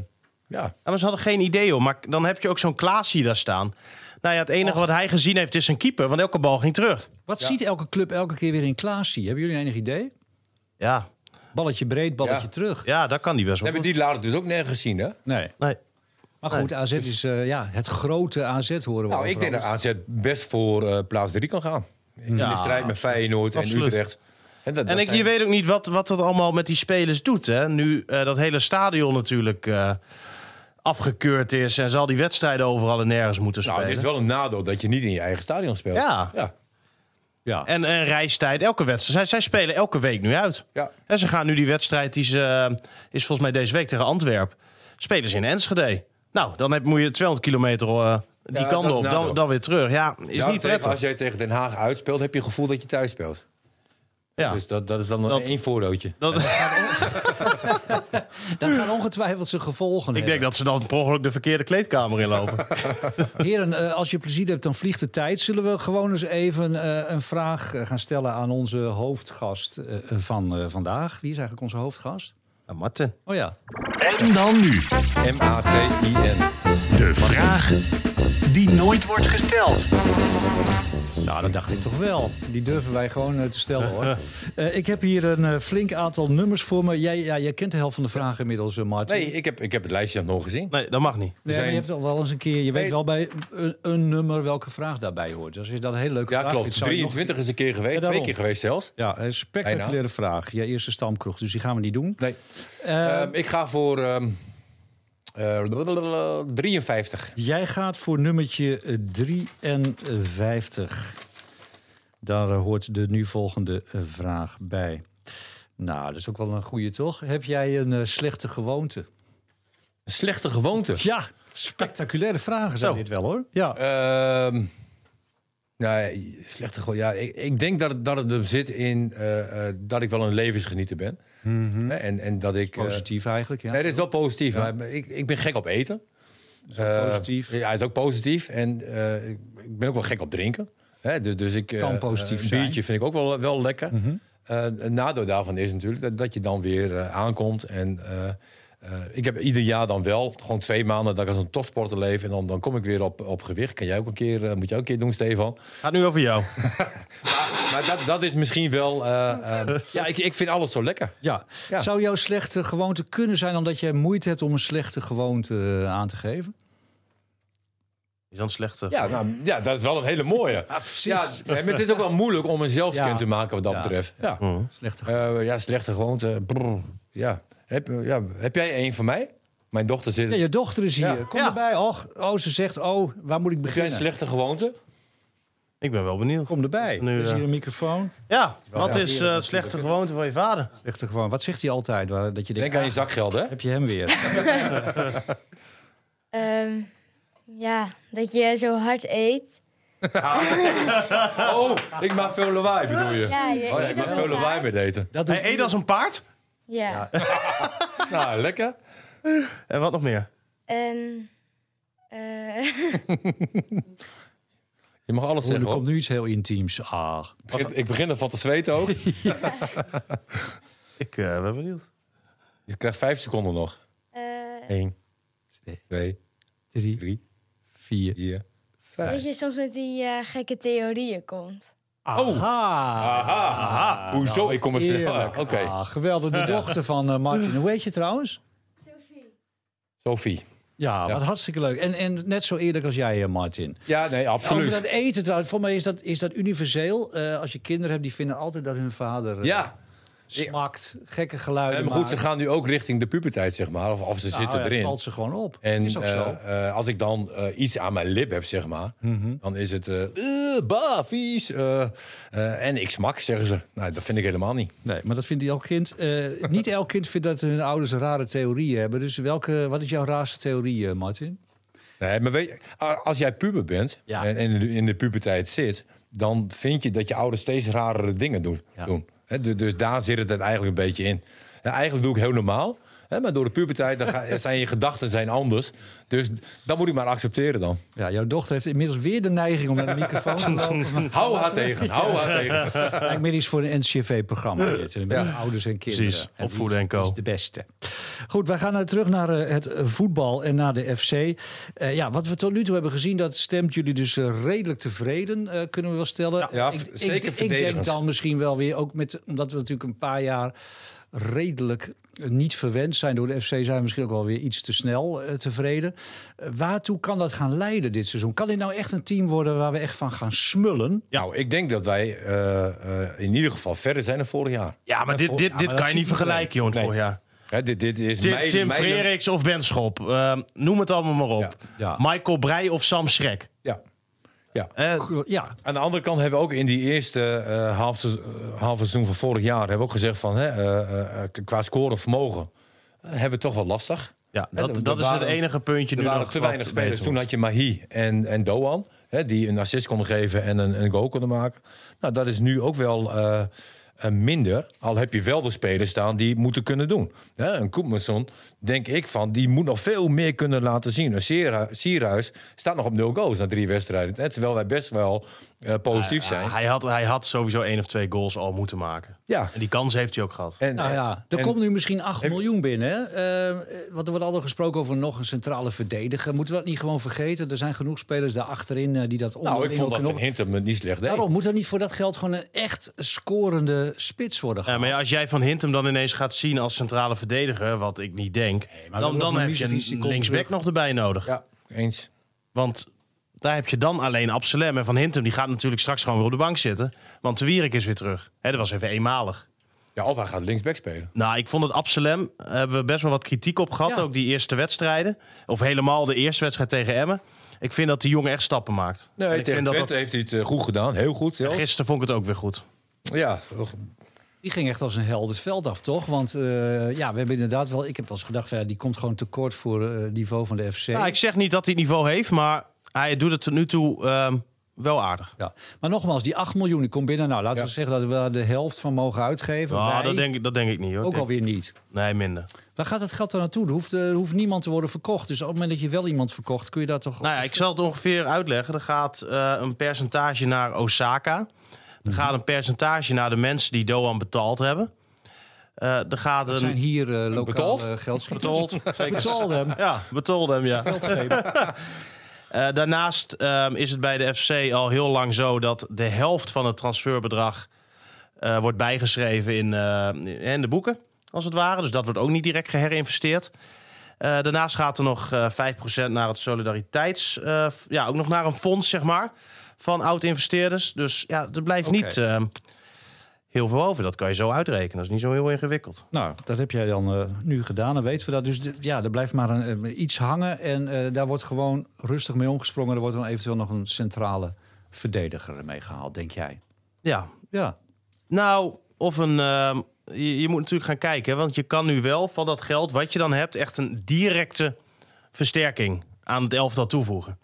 [SPEAKER 3] ja,
[SPEAKER 4] Ja, maar ze hadden geen idee, hoor. Maar dan heb je ook zo'n Klaasie daar staan. Nou ja, het enige wat hij gezien heeft is zijn keeper. Want elke bal ging terug.
[SPEAKER 2] Wat ziet elke club elke keer weer in Klaasie? Hebben jullie enig idee?
[SPEAKER 4] Ja,
[SPEAKER 2] Balletje breed, balletje
[SPEAKER 3] Ja.
[SPEAKER 2] terug.
[SPEAKER 4] ja daar kan die best wel.
[SPEAKER 3] hebben
[SPEAKER 4] goed.
[SPEAKER 3] die later dus ook nergens gezien, hè?
[SPEAKER 2] Nee.
[SPEAKER 4] Nee.
[SPEAKER 2] Maar goed, AZ is eh, ja, het grote AZ horen we
[SPEAKER 3] Nou, ik
[SPEAKER 2] overal.
[SPEAKER 3] denk dat AZ best voor eh, plaats 3 kan gaan. In
[SPEAKER 4] Ja,
[SPEAKER 3] de strijd met Feyenoord en
[SPEAKER 4] Absoluut.
[SPEAKER 3] Utrecht. En, dat,
[SPEAKER 4] En
[SPEAKER 3] dat
[SPEAKER 4] ik, je
[SPEAKER 3] zijn-
[SPEAKER 4] weet ook niet wat, wat dat allemaal met die spelers doet. Hè? Nu eh, dat hele stadion natuurlijk eh, afgekeurd is... en zal die wedstrijden overal en nergens moeten
[SPEAKER 3] nou,
[SPEAKER 4] spelen.
[SPEAKER 3] het is wel een nadeel dat je niet in je eigen stadion speelt.
[SPEAKER 4] Ja.
[SPEAKER 3] ja.
[SPEAKER 2] Ja.
[SPEAKER 4] En, en reistijd, elke wedstrijd. Zij, zij spelen elke week nu uit.
[SPEAKER 3] Ja.
[SPEAKER 4] En ze gaan nu die wedstrijd, die ze, eh, is volgens mij deze week tegen Antwerpen. Spelen ze in Enschede. Nou, dan heb, moet je 200 kilometer eh, die
[SPEAKER 3] Ja,
[SPEAKER 4] kant
[SPEAKER 3] dat is
[SPEAKER 4] op,
[SPEAKER 3] nadeel.
[SPEAKER 4] dan, dan weer terug. Ja, is
[SPEAKER 3] Ja,
[SPEAKER 4] niet
[SPEAKER 3] tegen- Als
[SPEAKER 4] prettig.
[SPEAKER 3] jij tegen Den Haag uitspeelt, heb je het gevoel dat je thuis speelt.
[SPEAKER 4] Ja.
[SPEAKER 3] Dus dat, dat is dan
[SPEAKER 4] Dat-
[SPEAKER 3] een één voordeeltje.
[SPEAKER 4] Dat,
[SPEAKER 2] Dan gaan ongetwijfeld zijn gevolgen
[SPEAKER 4] ik denk
[SPEAKER 2] hebben.
[SPEAKER 4] dat ze dan per ongeluk de verkeerde kleedkamer inlopen.
[SPEAKER 2] Heren, eh, als je plezier hebt, dan vliegt de tijd. Zullen we gewoon eens even eh, een vraag eh, gaan stellen aan onze hoofdgast eh, van eh, vandaag. Wie is eigenlijk onze hoofdgast?
[SPEAKER 4] nou, Martin.
[SPEAKER 2] Oh ja,
[SPEAKER 1] En dan nu
[SPEAKER 3] M-A-T-I-N.
[SPEAKER 1] de vraag die nooit wordt gesteld.
[SPEAKER 2] Nou, dat dacht ik toch wel. Die durven wij gewoon eh, te stellen hoor. Eh, ik heb hier een eh, flink aantal nummers voor me. Jij, ja, jij kent de helft van de vragen inmiddels, eh, Martin.
[SPEAKER 3] Nee, ik heb, ik heb het lijstje nog nooit gezien.
[SPEAKER 4] Nee, dat mag niet.
[SPEAKER 2] Nee, maar
[SPEAKER 3] zijn-
[SPEAKER 2] je hebt al wel eens een keer. Je weet
[SPEAKER 3] Nee.
[SPEAKER 2] wel bij een, een nummer welke vraag daarbij hoort. Dus is dat een hele leuke
[SPEAKER 3] Ja,
[SPEAKER 2] vraag.
[SPEAKER 3] klopt.
[SPEAKER 2] vindt, zou je nog-
[SPEAKER 3] 23 is een keer geweest.
[SPEAKER 2] Ja,
[SPEAKER 3] twee
[SPEAKER 2] daarom.
[SPEAKER 3] keer geweest zelfs.
[SPEAKER 2] Ja, een spectaculaire
[SPEAKER 3] Bijna.
[SPEAKER 2] vraag. Je eerste stamkroeg, dus die gaan we niet doen.
[SPEAKER 3] Nee.
[SPEAKER 2] Eh,
[SPEAKER 3] Ehm, ik ga voor ehm, eh, blablabla, 53.
[SPEAKER 2] Jij gaat voor nummertje eh, 53. Daar eh, hoort de nu volgende eh, vraag bij. Nou, dat is ook wel een goede, toch? Heb jij een eh, slechte gewoonte?
[SPEAKER 3] Een slechte gewoonte.
[SPEAKER 2] Ja, spectaculaire vragen zijn
[SPEAKER 4] Zo.
[SPEAKER 2] dit wel, hoor. Eh, Ja.
[SPEAKER 3] Ehm nou, slechte gewoon. Ja, ik, ik denk dat het, dat het hem zit in eh, eh, dat ik wel een levensgenieter ben. Eh, en, en dat ik. eh,
[SPEAKER 2] Mhm. Positief eigenlijk, ja.
[SPEAKER 3] nee, dat is wel positief. Maar ik, ik ben gek op eten. Eh,
[SPEAKER 2] positief.
[SPEAKER 3] ja, is ook positief. En eh, ik ik ben ook wel gek op drinken. Hè, dus, dus ik, eh,
[SPEAKER 2] Kan positief
[SPEAKER 3] een
[SPEAKER 2] zijn. Mhm.
[SPEAKER 3] biertje vind ik ook wel, wel lekker. Eh, een nadeel daarvan is natuurlijk dat, dat je dan weer eh, aankomt. En eh, eh, ik heb ieder jaar dan wel, gewoon twee maanden, dat ik als een topsporter leef. En dan, dan kom ik weer op, op gewicht. Kan jij ook een keer, eh, moet jij ook een keer doen, Stefan.
[SPEAKER 4] Gaat nu over jou.
[SPEAKER 3] Maar dat, dat is misschien wel... eh, eh, ja, ik, ik vind alles zo lekker.
[SPEAKER 2] Ja.
[SPEAKER 3] Ja.
[SPEAKER 2] Zou jouw slechte gewoonte kunnen zijn omdat jij moeite hebt om een slechte gewoonte eh, aan te geven?
[SPEAKER 4] Is dan slechter.
[SPEAKER 3] Ja, nou, ja, dat is wel een hele mooie. Ja, hè, maar het is ook wel moeilijk om een zelfscan
[SPEAKER 2] Ja.
[SPEAKER 3] te maken wat dat
[SPEAKER 2] Ja.
[SPEAKER 3] betreft. Ja.
[SPEAKER 2] Slechte gewoonte.
[SPEAKER 3] Eh, ja, slechte gewoonte. Brrr. Ja. Heb, ja. heb jij één van mij? Mijn dochter zit.
[SPEAKER 2] Ja, je dochter is hier.
[SPEAKER 3] Ja.
[SPEAKER 2] Kom
[SPEAKER 4] Ja.
[SPEAKER 2] erbij. Och, oh, ze zegt, oh, waar moet ik
[SPEAKER 3] heb jij een
[SPEAKER 2] beginnen?
[SPEAKER 3] slechte gewoonte?
[SPEAKER 4] Ik ben wel benieuwd.
[SPEAKER 2] Kom erbij.
[SPEAKER 4] Nu,
[SPEAKER 2] er is
[SPEAKER 4] eh,
[SPEAKER 2] hier een microfoon.
[SPEAKER 4] Ja, wat
[SPEAKER 3] ja.
[SPEAKER 4] is eh, slechte gewoonte van je vader?
[SPEAKER 2] Echt gewoon. Wat zegt hij altijd? Waar, dat je denkt,
[SPEAKER 3] Denk aan
[SPEAKER 2] ah,
[SPEAKER 3] je zakgeld, hè?
[SPEAKER 2] heb je hem weer?
[SPEAKER 5] Ehm, ja, dat je zo hard eet.
[SPEAKER 3] Oh, ik maak veel lawaai, bedoel je?
[SPEAKER 5] Ja, je
[SPEAKER 3] Oh, ja,
[SPEAKER 5] eet
[SPEAKER 3] ik maak
[SPEAKER 5] als een
[SPEAKER 3] veel lawaai
[SPEAKER 5] paard.
[SPEAKER 3] met eten.
[SPEAKER 2] Dat doet
[SPEAKER 4] Hij eet als een paard.
[SPEAKER 5] Ja.
[SPEAKER 3] Nou, lekker.
[SPEAKER 4] En wat nog meer?
[SPEAKER 5] En eh,
[SPEAKER 3] Je mag alles
[SPEAKER 2] Oh, er
[SPEAKER 3] zeggen,
[SPEAKER 2] komt
[SPEAKER 3] hoor.
[SPEAKER 2] nu iets heel intiems. Ah.
[SPEAKER 3] Ik begin- Ik begin ervan te zweten ook.
[SPEAKER 4] Ik eh, ben benieuwd.
[SPEAKER 3] Je krijgt vijf seconden nog.
[SPEAKER 5] eh,
[SPEAKER 3] Eén,
[SPEAKER 2] Twee,
[SPEAKER 3] twee,
[SPEAKER 2] drie,
[SPEAKER 3] drie,
[SPEAKER 2] vier.
[SPEAKER 3] vier.
[SPEAKER 5] dat je soms met die eh, gekke theorieën komt.
[SPEAKER 2] Aha.
[SPEAKER 3] Oh. Aha, aha. Hoezo? Ik kom er snel.
[SPEAKER 2] Heerlijk.
[SPEAKER 3] Ah, Oké,
[SPEAKER 2] Ah, geweldig. De dochter van eh, Martin. Hoe heet je trouwens?
[SPEAKER 3] Sophie.
[SPEAKER 2] Ja,
[SPEAKER 3] Ja.
[SPEAKER 2] wat hartstikke leuk. En, en net zo eerlijk als jij, eh, Martin.
[SPEAKER 3] Ja, nee,
[SPEAKER 2] Over dat
[SPEAKER 3] absoluut.
[SPEAKER 2] eten trouwens. Voor mij is dat, is dat universeel. Eh, als je kinderen hebt, die vinden altijd dat hun vader eh,
[SPEAKER 3] Ja,
[SPEAKER 2] smakt. Gekke geluiden
[SPEAKER 3] Eh, maar goed, ze
[SPEAKER 2] maakt.
[SPEAKER 3] gaan nu ook richting de puberteit, zeg maar. Of, of ze
[SPEAKER 2] Nou
[SPEAKER 3] zitten
[SPEAKER 2] ja, het
[SPEAKER 3] erin.
[SPEAKER 2] valt ze gewoon op.
[SPEAKER 3] En
[SPEAKER 2] het is ook
[SPEAKER 3] eh,
[SPEAKER 2] zo.
[SPEAKER 3] eh, als ik dan eh, iets aan mijn lip heb, zeg maar,
[SPEAKER 2] Mhm.
[SPEAKER 3] dan is het eh eh, bah, vies. eh, eh, en ik smak, zeggen ze. Nou, dat vind ik helemaal niet.
[SPEAKER 2] Nee, maar dat vindt elk kind. eh, niet elk kind vindt dat hun ouders rare theorieën hebben. Dus welke, wat is jouw raarste theorie, eh, Martin?
[SPEAKER 3] Nee, maar weet je, a- als jij puber bent
[SPEAKER 2] Ja.
[SPEAKER 3] en, en in de- in de puberteit zit, dan vind je dat je ouders steeds rarere dingen doen.
[SPEAKER 2] Ja.
[SPEAKER 3] doen. Hè, du- dus daar zit het eigenlijk een beetje in. Hè, Nou, eigenlijk doe ik heel normaal. Hè, maar door de puberteit dan ga- zijn je gedachten zijn anders. Dus dat moet ik maar accepteren dan.
[SPEAKER 2] Ja, jouw dochter heeft inmiddels weer de neiging om naar de microfoon te lopen. Maar
[SPEAKER 3] Hou haar tegen, hou haar tegen.
[SPEAKER 2] Eigenlijk meer iets voor een NCV-programma. Met ouders en kinderen.
[SPEAKER 4] Precies,
[SPEAKER 2] wie
[SPEAKER 4] opvoeden en co.
[SPEAKER 2] Is de beste. Goed, wij gaan nou terug naar eh, het voetbal en naar de FC. Eh, ja, wat we tot nu toe hebben gezien, dat stemt jullie dus eh, redelijk tevreden, eh, kunnen we wel stellen. Eh,
[SPEAKER 3] ja,
[SPEAKER 2] ik,
[SPEAKER 3] v- zeker
[SPEAKER 2] ik, ik denk
[SPEAKER 3] verdedigend.
[SPEAKER 2] dan misschien wel weer, ook met, omdat we natuurlijk een paar jaar redelijk eh, niet verwend zijn door de FC, zijn we misschien ook wel weer iets te snel eh, tevreden. Eh, waartoe kan dat gaan leiden dit seizoen? Kan dit nou echt een team worden waar we echt van gaan smullen?
[SPEAKER 4] Ja.
[SPEAKER 3] Nou, ik denk dat wij eh, eh, in ieder geval verder zijn dan vorig jaar.
[SPEAKER 4] Ja, maar dit,
[SPEAKER 2] Ja,
[SPEAKER 4] dit,
[SPEAKER 2] maar
[SPEAKER 4] dit
[SPEAKER 2] dat
[SPEAKER 4] kan je
[SPEAKER 2] ziet
[SPEAKER 4] niet vergelijken, joh,
[SPEAKER 3] Nee.
[SPEAKER 4] vorig jaar.
[SPEAKER 3] Hè, dit, dit is
[SPEAKER 4] Tim,
[SPEAKER 3] mijn-
[SPEAKER 4] Tim
[SPEAKER 3] mijn-
[SPEAKER 4] Frederiks of Ben Schop. eh, noem het allemaal maar op.
[SPEAKER 3] Ja.
[SPEAKER 2] Ja.
[SPEAKER 4] Michael Breij of Sam Schrek.
[SPEAKER 3] Ja. ja.
[SPEAKER 4] Eh,
[SPEAKER 2] Ja,
[SPEAKER 3] Aan de andere kant hebben we ook in die eerste eh half, seizoen, eh, half seizoen van vorig jaar hebben we ook gezegd van hè, eh, eh, eh, qua scoren vermogen eh, hebben we het toch wel lastig.
[SPEAKER 4] ja,
[SPEAKER 3] Hè,
[SPEAKER 4] dat,
[SPEAKER 3] er- er
[SPEAKER 4] dat is
[SPEAKER 3] waren-
[SPEAKER 4] het enige puntje
[SPEAKER 3] Er
[SPEAKER 4] nu
[SPEAKER 3] waren
[SPEAKER 4] nog
[SPEAKER 3] te
[SPEAKER 4] wat
[SPEAKER 3] weinig spelers.
[SPEAKER 4] beter
[SPEAKER 3] Toen
[SPEAKER 4] wordt.
[SPEAKER 3] had je Mahi en, en Doan. Hè, die een assist konden geven en een, een goal konden maken. Nou, dat is nu ook wel eh, eh, minder. Al heb je wel de spelers staan die het moeten kunnen doen. Hè, een Koepmanson, denk ik van, die moet nog veel meer kunnen laten zien. Een Sierhu- Sierhuis staat nog op nul goals na drie wedstrijden. Hè, terwijl wij best wel eh, positief zijn.
[SPEAKER 4] Ja, hij, had, hij had sowieso één of twee goals al moeten maken.
[SPEAKER 3] Ja.
[SPEAKER 4] En die kans heeft hij ook gehad.
[SPEAKER 3] En,
[SPEAKER 2] Nou ja, er
[SPEAKER 3] en-
[SPEAKER 2] komt nu misschien 8 miljoen binnen. Hè? Eh, eh, want er wordt altijd gesproken over nog een centrale verdediger. Moeten we dat niet gewoon vergeten? Er zijn genoeg spelers daar achterin eh, die dat
[SPEAKER 3] nou,
[SPEAKER 2] onderling
[SPEAKER 3] ik vond
[SPEAKER 2] ook
[SPEAKER 3] dat
[SPEAKER 2] kunnen
[SPEAKER 3] Van Hintem het niet slecht deed.
[SPEAKER 2] Daarom moet er niet voor dat geld gewoon een echt scorende spits worden
[SPEAKER 4] Ja,
[SPEAKER 2] gehaald.
[SPEAKER 4] Eh, maar ja, als jij Van Hintem dan ineens gaat zien als centrale verdediger, wat ik niet denk,
[SPEAKER 2] maar
[SPEAKER 4] dan,
[SPEAKER 2] we
[SPEAKER 4] dan
[SPEAKER 2] hebben
[SPEAKER 4] heb je
[SPEAKER 2] Misevic, die
[SPEAKER 4] een
[SPEAKER 2] komt
[SPEAKER 4] linksback
[SPEAKER 2] terug.
[SPEAKER 4] nog erbij nodig.
[SPEAKER 3] Ja, eens.
[SPEAKER 4] Want daar heb je dan alleen Absalem. En Van Hintem die gaat natuurlijk straks gewoon weer op de bank zitten. Want de Wierik is weer terug. Hè, dat was even eenmalig.
[SPEAKER 3] Ja, of hij gaat linksback spelen.
[SPEAKER 4] Nou, ik vond het Absalem, daar hebben we best wel wat kritiek op gehad.
[SPEAKER 2] Ja.
[SPEAKER 4] Ook die eerste wedstrijden. Of helemaal de eerste wedstrijd tegen Emmen. Ik vind dat die jongen echt stappen maakt. En
[SPEAKER 3] Nee,
[SPEAKER 4] ik
[SPEAKER 3] tegen
[SPEAKER 4] vind dat
[SPEAKER 3] Twente
[SPEAKER 4] dat-
[SPEAKER 3] heeft hij het eh, goed gedaan. Heel goed zelfs.
[SPEAKER 4] Gisteren vond ik het ook weer goed.
[SPEAKER 3] Ja,
[SPEAKER 2] Die ging echt als een held het veld af, toch? Want eh, ja, we hebben inderdaad wel... Ik heb wel eens gedacht, van, ja, die komt gewoon tekort voor eh, het niveau van de FC.
[SPEAKER 4] Nou, ik zeg niet dat hij het niveau heeft, maar hij doet het tot nu toe ehm, wel aardig.
[SPEAKER 2] ja. Maar nogmaals, die 8 miljoen die komt binnen. Nou, laten
[SPEAKER 3] Ja.
[SPEAKER 2] we zeggen dat we daar de helft van mogen uitgeven.
[SPEAKER 4] Nou,
[SPEAKER 2] Wij
[SPEAKER 4] dat, denk ik, dat denk ik niet hoor.
[SPEAKER 2] ook
[SPEAKER 4] Ik-
[SPEAKER 2] alweer niet.
[SPEAKER 4] Nee, minder.
[SPEAKER 2] Waar gaat dat geld dan naartoe? Er hoeft, eh, er hoeft niemand te worden verkocht. Dus op het moment dat je wel iemand verkocht, kun je daar toch...
[SPEAKER 4] Nou ja, ik zal het ongeveer uitleggen. Er gaat eh, een percentage naar Osaka.
[SPEAKER 2] Mhm.
[SPEAKER 4] Er gaat een percentage naar de mensen die Doan betaald hebben. Eh er gaat
[SPEAKER 2] Dat
[SPEAKER 4] een...
[SPEAKER 2] zijn hier eh
[SPEAKER 3] Betold?
[SPEAKER 2] lokaal geldschieters.
[SPEAKER 4] Betold. Zeker.
[SPEAKER 2] Betold hem.
[SPEAKER 4] Ja, betold hem, ja. Eh, daarnaast ehm, is het bij de FC al heel lang zo dat de helft van het transferbedrag eh, wordt bijgeschreven in, eh, in de boeken, als het ware. Dus dat wordt ook niet direct geherinvesteerd. Eh, daarnaast gaat er nog eh 5% naar het solidariteits... eh, f- ja, ook nog naar een fonds, zeg maar, van oud-investeerders. Dus ja, er blijft
[SPEAKER 2] Oké.
[SPEAKER 4] niet ehm, heel veel over. Dat kan je zo uitrekenen. Dat is niet zo heel ingewikkeld.
[SPEAKER 2] Nou, dat heb jij dan eh, nu gedaan. Dan weten we dat. Dus d- ja, er blijft maar een, eh, iets hangen. En eh, daar wordt gewoon rustig mee omgesprongen. Er wordt dan eventueel nog een centrale verdediger mee gehaald, denk jij.
[SPEAKER 4] Ja,
[SPEAKER 2] Ja.
[SPEAKER 4] Nou, of een. ehm, je, je moet natuurlijk gaan kijken, hè, want je kan nu wel van dat geld wat je dan hebt echt een directe versterking aan het elftal toevoegen.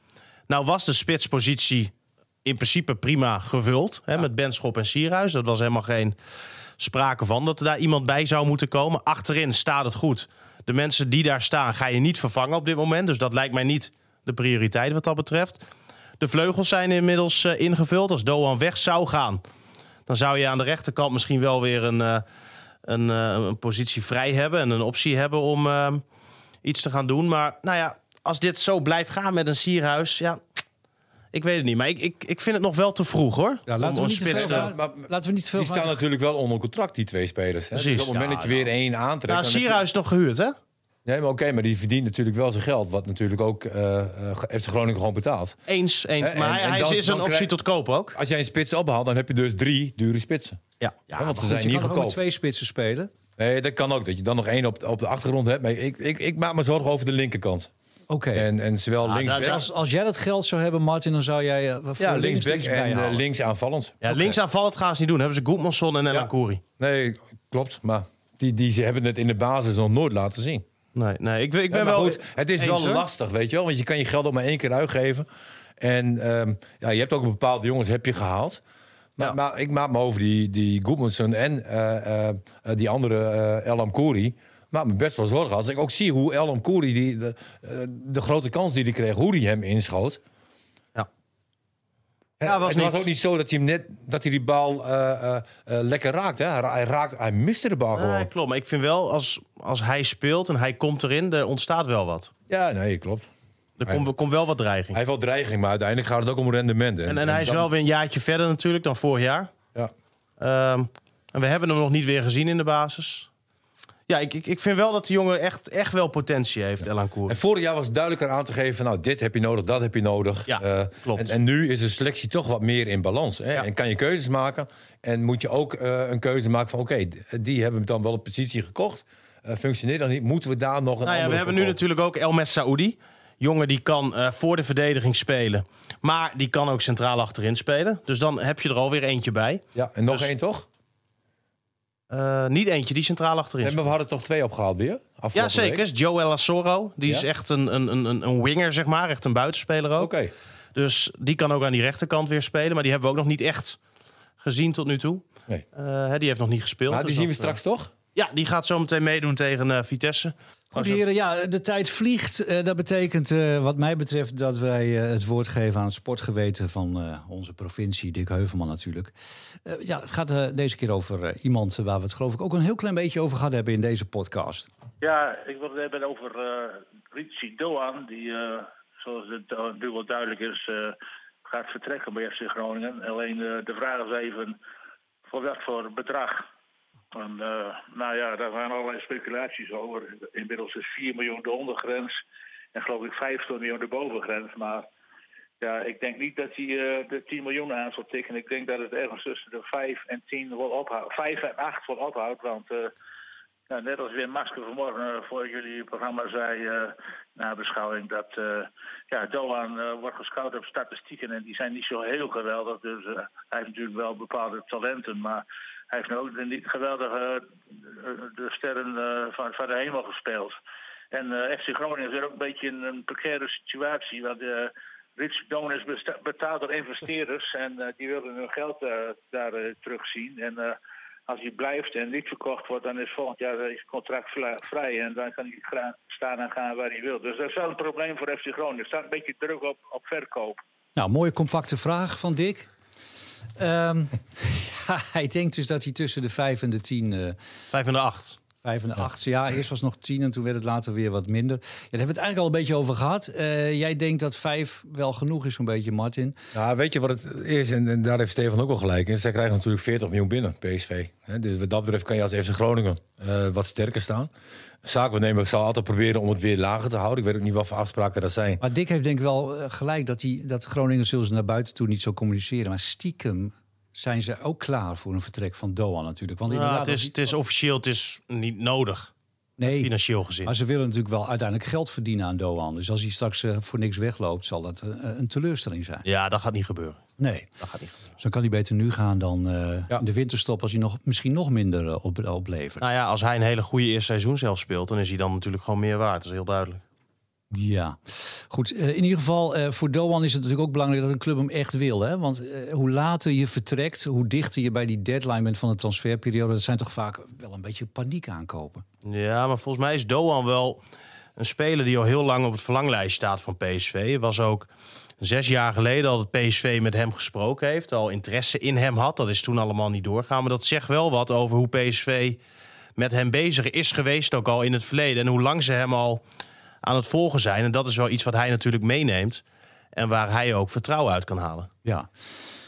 [SPEAKER 4] Nou was de spitspositie in principe prima gevuld hè, met Benschop en Sierhuis. Dat was helemaal geen sprake van dat er daar iemand bij zou moeten komen. Achterin staat het goed. De mensen die daar staan ga je niet vervangen op dit moment. Dus dat lijkt mij niet de prioriteit wat dat betreft. De vleugels zijn inmiddels eh, ingevuld. Als Doan weg zou gaan, dan zou je aan de rechterkant misschien wel weer een, eh, een, eh, een positie vrij hebben en een optie hebben om eh, iets te gaan doen. Maar nou ja, als dit zo blijft gaan met een sierhuis, ja, ik weet het niet. Maar ik, ik, ik vind het nog wel te vroeg hoor.
[SPEAKER 2] Ja, laten we niet te
[SPEAKER 4] spits
[SPEAKER 2] veel
[SPEAKER 4] te-
[SPEAKER 2] gaan-
[SPEAKER 3] Maar-
[SPEAKER 2] Laten we niet te veel
[SPEAKER 3] die staan
[SPEAKER 2] van-
[SPEAKER 3] natuurlijk wel onder contract, die twee spelers. Hè? Dus
[SPEAKER 4] Precies.
[SPEAKER 3] op het moment
[SPEAKER 4] Ja,
[SPEAKER 3] dat je weer één aantrekt... dan
[SPEAKER 4] Nou,
[SPEAKER 3] heb je-
[SPEAKER 4] Sierhuis is nog gehuurd, hè?
[SPEAKER 3] Nee, maar oké, maar die verdient natuurlijk wel zijn geld. Wat natuurlijk ook eh eh, FC Groningen gewoon betaalt.
[SPEAKER 4] Eens, eens.
[SPEAKER 3] Hè,
[SPEAKER 4] maar
[SPEAKER 3] en-
[SPEAKER 4] hij,
[SPEAKER 3] en
[SPEAKER 4] hij
[SPEAKER 3] dan-
[SPEAKER 4] is een
[SPEAKER 3] dan
[SPEAKER 4] optie
[SPEAKER 3] krijg-
[SPEAKER 4] tot koop ook.
[SPEAKER 3] Als jij een spits ophaalt, dan heb je dus drie dure spitsen.
[SPEAKER 4] Ja.
[SPEAKER 3] Hè, want ze
[SPEAKER 2] Goed,
[SPEAKER 3] zijn
[SPEAKER 2] je kan
[SPEAKER 3] niet
[SPEAKER 2] toch ook met
[SPEAKER 3] goedkoop.
[SPEAKER 2] twee spitsen spelen?
[SPEAKER 3] Nee, dat kan ook. Dat je dan nog één op de, op de achtergrond hebt. Maar ik, ik, ik maak me zorgen over de linkerkant.
[SPEAKER 2] Oké.
[SPEAKER 3] En, en zowel
[SPEAKER 4] Ah,
[SPEAKER 3] linksback,
[SPEAKER 4] daar-
[SPEAKER 2] Als, als jij dat geld zou hebben, Martin, dan zou jij... eh, voor
[SPEAKER 3] ja,
[SPEAKER 2] links
[SPEAKER 3] linksback
[SPEAKER 2] iets
[SPEAKER 3] en eh,
[SPEAKER 2] bijhalen.
[SPEAKER 3] links aanvallend.
[SPEAKER 4] Ja, Links aanvallend gaan ze niet doen. Dan hebben ze Goedmanson en Elan Koeri.
[SPEAKER 3] Nee, klopt. Maar die, die, ze hebben het in de basis nog nooit laten zien.
[SPEAKER 4] Nee, nee. Ik, ik ben
[SPEAKER 3] Ja, maar
[SPEAKER 4] wel.
[SPEAKER 3] goed, het is
[SPEAKER 4] eens,
[SPEAKER 3] wel
[SPEAKER 4] hoor.
[SPEAKER 3] lastig, weet je wel. Want je kan je geld ook maar één keer uitgeven. En ehm, ja, je hebt ook een bepaalde jongens heb je gehaald. Maar,
[SPEAKER 4] Ja.
[SPEAKER 3] maar ik maak me over die, die Goodmanson en eh, eh, die andere eh El Amkouri. Maak me best wel zorgen als ik ook zie hoe El Amkouri... Die, de, eh, de grote kans die hij kreeg, hoe hij hem inschoot.
[SPEAKER 4] Ja.
[SPEAKER 3] Hè,
[SPEAKER 4] Ja, was
[SPEAKER 3] het was
[SPEAKER 4] niet-
[SPEAKER 3] ook niet zo dat hij, hem net, dat hij die bal eh, eh, eh, lekker raakt, hè. Hij, ra- hij raakt. Hij miste de bal
[SPEAKER 4] Nee,
[SPEAKER 3] gewoon.
[SPEAKER 4] klopt. Maar ik vind wel, als, als hij speelt en hij komt erin, er ontstaat wel wat.
[SPEAKER 3] Ja, nee, klopt.
[SPEAKER 4] Er
[SPEAKER 3] Hij-
[SPEAKER 4] komt komt wel wat dreiging.
[SPEAKER 3] Hij heeft wel dreiging, maar uiteindelijk gaat het ook om rendement.
[SPEAKER 4] en, en hij is
[SPEAKER 3] dan-
[SPEAKER 4] wel weer een jaartje verder natuurlijk dan vorig jaar.
[SPEAKER 3] Ja.
[SPEAKER 4] Ehm, en we hebben hem nog niet weer gezien in de basis. Ja, ik, ik, ik vind wel dat die jongen echt, echt wel potentie heeft, Elan
[SPEAKER 3] En
[SPEAKER 4] Koer.
[SPEAKER 3] vorig jaar was duidelijker aan te geven: van, nou, dit heb je nodig, dat heb je nodig.
[SPEAKER 4] Ja,
[SPEAKER 3] Eh,
[SPEAKER 4] klopt.
[SPEAKER 3] En, en nu is de selectie toch wat meer in balans. Hè?
[SPEAKER 4] Ja.
[SPEAKER 3] En kan je keuzes maken. En moet je ook eh, een keuze maken van: oké, d- die hebben we dan wel op positie gekocht. Eh, functioneert dan niet? Moeten we daar nog een
[SPEAKER 4] Nou ja,
[SPEAKER 3] andere
[SPEAKER 4] we hebben nu
[SPEAKER 3] voor kopen?
[SPEAKER 4] natuurlijk ook El Saoudi. Jongen die kan eh, voor de verdediging spelen. Maar die kan ook centraal achterin spelen. Dus dan heb je er alweer eentje bij.
[SPEAKER 3] Ja, en nog
[SPEAKER 4] dus-
[SPEAKER 3] één toch?
[SPEAKER 4] Eh, niet eentje die centraal achterin
[SPEAKER 3] En we hadden toch twee opgehaald weer? afgelopen
[SPEAKER 4] Ja, zeker.
[SPEAKER 3] week?
[SPEAKER 4] Is Joel Asoro. Die
[SPEAKER 3] Ja.
[SPEAKER 4] is echt een, een, een, een winger, zeg maar. Echt een buitenspeler ook.
[SPEAKER 3] Oké.
[SPEAKER 4] Dus die kan ook aan die rechterkant weer spelen. Maar die hebben we ook nog niet echt gezien tot nu toe.
[SPEAKER 3] Nee.
[SPEAKER 4] Eh, hè, die heeft nog niet gespeeld.
[SPEAKER 3] Nou, die
[SPEAKER 4] dus
[SPEAKER 3] zien we
[SPEAKER 4] dat, eh,
[SPEAKER 3] straks toch?
[SPEAKER 4] ja, die gaat zo meteen meedoen tegen eh, Vitesse.
[SPEAKER 2] Goed, heren, ja, de tijd vliegt. Eh, dat betekent eh, wat mij betreft dat wij eh, het woord geven aan het sportgeweten van eh, onze provincie, Dick Heuvelman natuurlijk. Eh, ja, het gaat eh, deze keer over eh, iemand waar we het geloof ik ook een heel klein beetje over gehad hebben in deze podcast.
[SPEAKER 6] Ja, ik wil het hebben over eh Ritsi Doan, die, eh, zoals het eh, nu wel duidelijk is, eh, gaat vertrekken bij FC Groningen. Alleen eh, de vraag is even, voor wat voor bedrag? En, eh, nou ja, daar zijn allerlei speculaties over. Inmiddels is 4 miljoen de ondergrens en geloof ik 15 miljoen de bovengrens. Maar ja, ik denk niet dat hij eh, de 10 miljoen aan zal tikken. Ik denk dat het ergens tussen de 5 en 10 wel ophoudt. 5 en 8 wel ophoudt, want... eh, nou, net als Wim Maske vanmorgen eh, voor jullie programma zei eh, na beschouwing dat eh, ja, Doan eh, wordt gescout op statistieken en die zijn niet zo heel geweldig. Dus eh, hij heeft natuurlijk wel bepaalde talenten, maar hij heeft nu ook de niet geweldige eh, de sterren eh, van, van de hemel gespeeld. En eh, FC Groningen is weer ook een beetje in een precaire situatie. Want eh Rich Don is besta- betaald door investeerders en eh, die willen hun geld eh, daar eh, terugzien. En eh, als hij blijft en niet verkocht wordt, dan is volgend jaar eh, is het contract vla- vrij. En dan kan hij gra- staan en gaan waar hij wil. Dus dat is wel een probleem voor FC Groningen. Er staat een beetje druk op, op verkoop.
[SPEAKER 2] Nou, mooie compacte vraag van Dick. Ehm, ja, hij denkt dus dat hij tussen de vijf en de tien eh,
[SPEAKER 4] Vijf en de acht.
[SPEAKER 2] Vijf en de achtste, ja. Eerst was het nog tien en toen werd het later weer wat minder. Ja, daar hebben we het eigenlijk al een beetje over gehad. Eh, jij denkt dat vijf wel genoeg is, zo'n beetje, Martin.
[SPEAKER 3] Nou, weet je wat het is? En, en daar heeft Stefan ook wel gelijk in. Zij krijgen natuurlijk 40 miljoen binnen, PSV. Hè, dus wat dat betreft kan je als FC Groningen eh, wat sterker staan. Zaakwaarnemer zal altijd proberen om het weer lager te houden. Ik weet ook niet wat voor afspraken dat zijn.
[SPEAKER 2] Maar Dick heeft denk ik wel eh, gelijk dat, die, dat Groningen zullen ze naar buiten toe niet zo communiceren. Maar stiekem zijn ze ook klaar voor een vertrek van Doan natuurlijk. Want
[SPEAKER 4] Nou,
[SPEAKER 2] inderdaad,
[SPEAKER 4] het, is,
[SPEAKER 2] dat-
[SPEAKER 4] het is officieel, het is niet nodig.
[SPEAKER 2] nee,
[SPEAKER 4] Financieel gezien.
[SPEAKER 2] maar ze willen natuurlijk wel uiteindelijk geld verdienen aan Doan. Dus als hij straks eh, voor niks wegloopt, zal dat eh, een teleurstelling zijn.
[SPEAKER 4] Ja, dat gaat niet gebeuren.
[SPEAKER 2] Nee,
[SPEAKER 4] Dat gaat niet gebeuren.
[SPEAKER 2] dus dan kan hij beter nu gaan dan eh,
[SPEAKER 3] Ja.
[SPEAKER 2] in de winterstop als hij nog, misschien nog minder eh, op, oplevert.
[SPEAKER 4] Nou ja, als hij een hele goede eerste seizoen zelf speelt, dan is hij dan natuurlijk gewoon meer waard. Dat is heel duidelijk.
[SPEAKER 2] Ja, goed. eh, in ieder geval, eh, voor Doan is het natuurlijk ook belangrijk dat een club hem echt wil. Hè? Want eh, hoe later je vertrekt, hoe dichter je bij die deadline bent van de transferperiode, dat zijn toch vaak wel een beetje paniek aankopen.
[SPEAKER 4] Ja, maar volgens mij is Doan wel een speler die al heel lang op het verlanglijst staat van PSV. Er was ook zes jaar geleden al dat PSV met hem gesproken heeft, al interesse in hem had. Dat is toen allemaal niet doorgaan. Maar dat zegt wel wat over hoe PSV met hem bezig is geweest ook al in het verleden. En hoe lang ze hem al aan het volgen zijn. En dat is wel iets wat hij natuurlijk meeneemt. En waar hij ook vertrouwen uit kan halen.
[SPEAKER 2] Ja.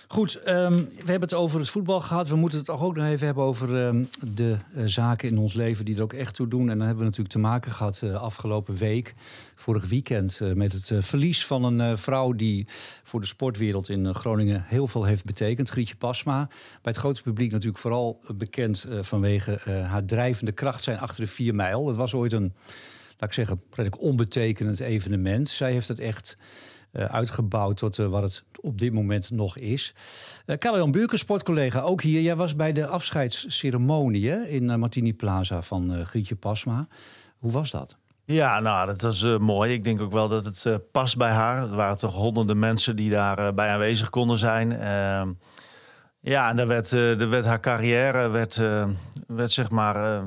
[SPEAKER 2] Goed, ehm, we hebben het over het voetbal gehad. We moeten het toch ook nog even hebben over ehm, de eh, zaken in ons leven die er ook echt toe doen. En dan hebben we natuurlijk te maken gehad eh, afgelopen week, vorig weekend, eh, met het eh, verlies van een eh, vrouw die voor de sportwereld in eh, Groningen heel veel heeft betekend, Grietje Pasma. Bij het grote publiek natuurlijk vooral eh, bekend eh, vanwege eh, haar drijvende kracht zijn achter de 4 mijl. Dat was ooit een, laat ik zeggen, redelijk onbetekenend evenement. Zij heeft het echt eh, uitgebouwd tot eh, wat het op dit moment nog is. Eh Karel-Jan Buurken, sportcollega, ook hier. Jij was bij de afscheidsceremonie hè, in eh, Martini Plaza van eh, Grietje Pasma. Hoe was dat?
[SPEAKER 7] Ja, nou, dat was eh, mooi. Ik denk ook wel dat het eh, past bij haar. Er waren toch honderden mensen die daar eh, bij aanwezig konden zijn. Ehm, Ja, en daar werd, eh, daar werd haar carrière werd, eh, werd zeg maar, eh,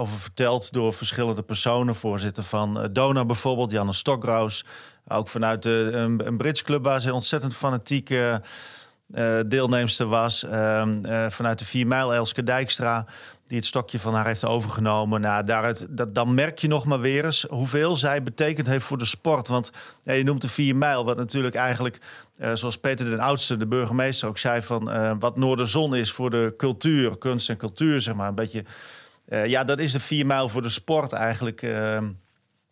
[SPEAKER 7] over verteld door verschillende personen, voorzitter van eh, Dona bijvoorbeeld, Janne Stokroos. Ook vanuit de, een, een Brits club waar ze ontzettend fanatiek eh, eh, deelnemster was. Ehm, eh, vanuit de 4 mijl Elske Dijkstra, die het stokje van haar heeft overgenomen. Nou, daaruit, dat, dan merk je nog maar weer eens hoeveel zij betekend heeft voor de sport. Want ja, je noemt de 4 mijl, wat natuurlijk eigenlijk, eh, zoals Peter den Oudste, de burgemeester, ook zei... van eh, wat Noorderzon is voor de cultuur, kunst en cultuur, zeg maar. Een beetje, eh, ja, dat is de 4 mijl voor de sport eigenlijk... ehm,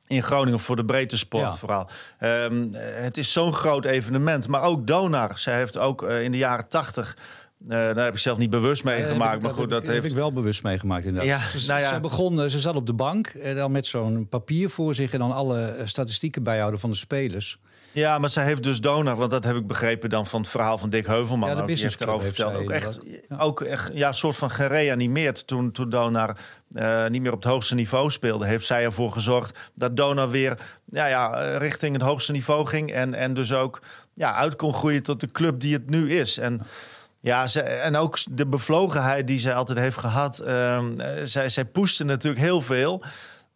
[SPEAKER 7] in Groningen voor de breedte sport
[SPEAKER 2] Ja.
[SPEAKER 7] vooral. Ehm, het is zo'n groot evenement. Maar ook Donar. Zij heeft ook eh, in de jaren tachtig... eh, daar heb ik zelf niet bewust meegemaakt.
[SPEAKER 2] Eh,
[SPEAKER 7] maar goed,
[SPEAKER 2] heb
[SPEAKER 7] dat
[SPEAKER 2] ik-
[SPEAKER 7] heeft...
[SPEAKER 2] heb ik wel bewust meegemaakt inderdaad.
[SPEAKER 7] Ja,
[SPEAKER 2] ze,
[SPEAKER 7] nou ja.
[SPEAKER 2] ze, begon, eh, ze zat op de bank en dan met zo'n papier voor zich... en dan alle eh, statistieken bijhouden van de spelers.
[SPEAKER 7] Ja, maar zij heeft dus Donar, want dat heb ik begrepen dan van het verhaal van Dick Heuvelman.
[SPEAKER 2] Ja, de
[SPEAKER 7] ook, die heeft
[SPEAKER 2] business
[SPEAKER 7] erover
[SPEAKER 2] club
[SPEAKER 7] verteld. Ook
[SPEAKER 2] heeft
[SPEAKER 7] echt, eh,
[SPEAKER 2] zij
[SPEAKER 7] ook echt ja, soort van gereanimeerd toen, toen Donar eh, niet meer op het hoogste niveau speelde. Heeft zij ervoor gezorgd dat Donar weer ja, ja, eh, richting het hoogste niveau ging. En, en dus ook ja, uit kon groeien tot de club die het nu is. En, ja, ze, en ook de bevlogenheid die zij altijd heeft gehad. ehm, eh, zij, zij pushte natuurlijk heel veel.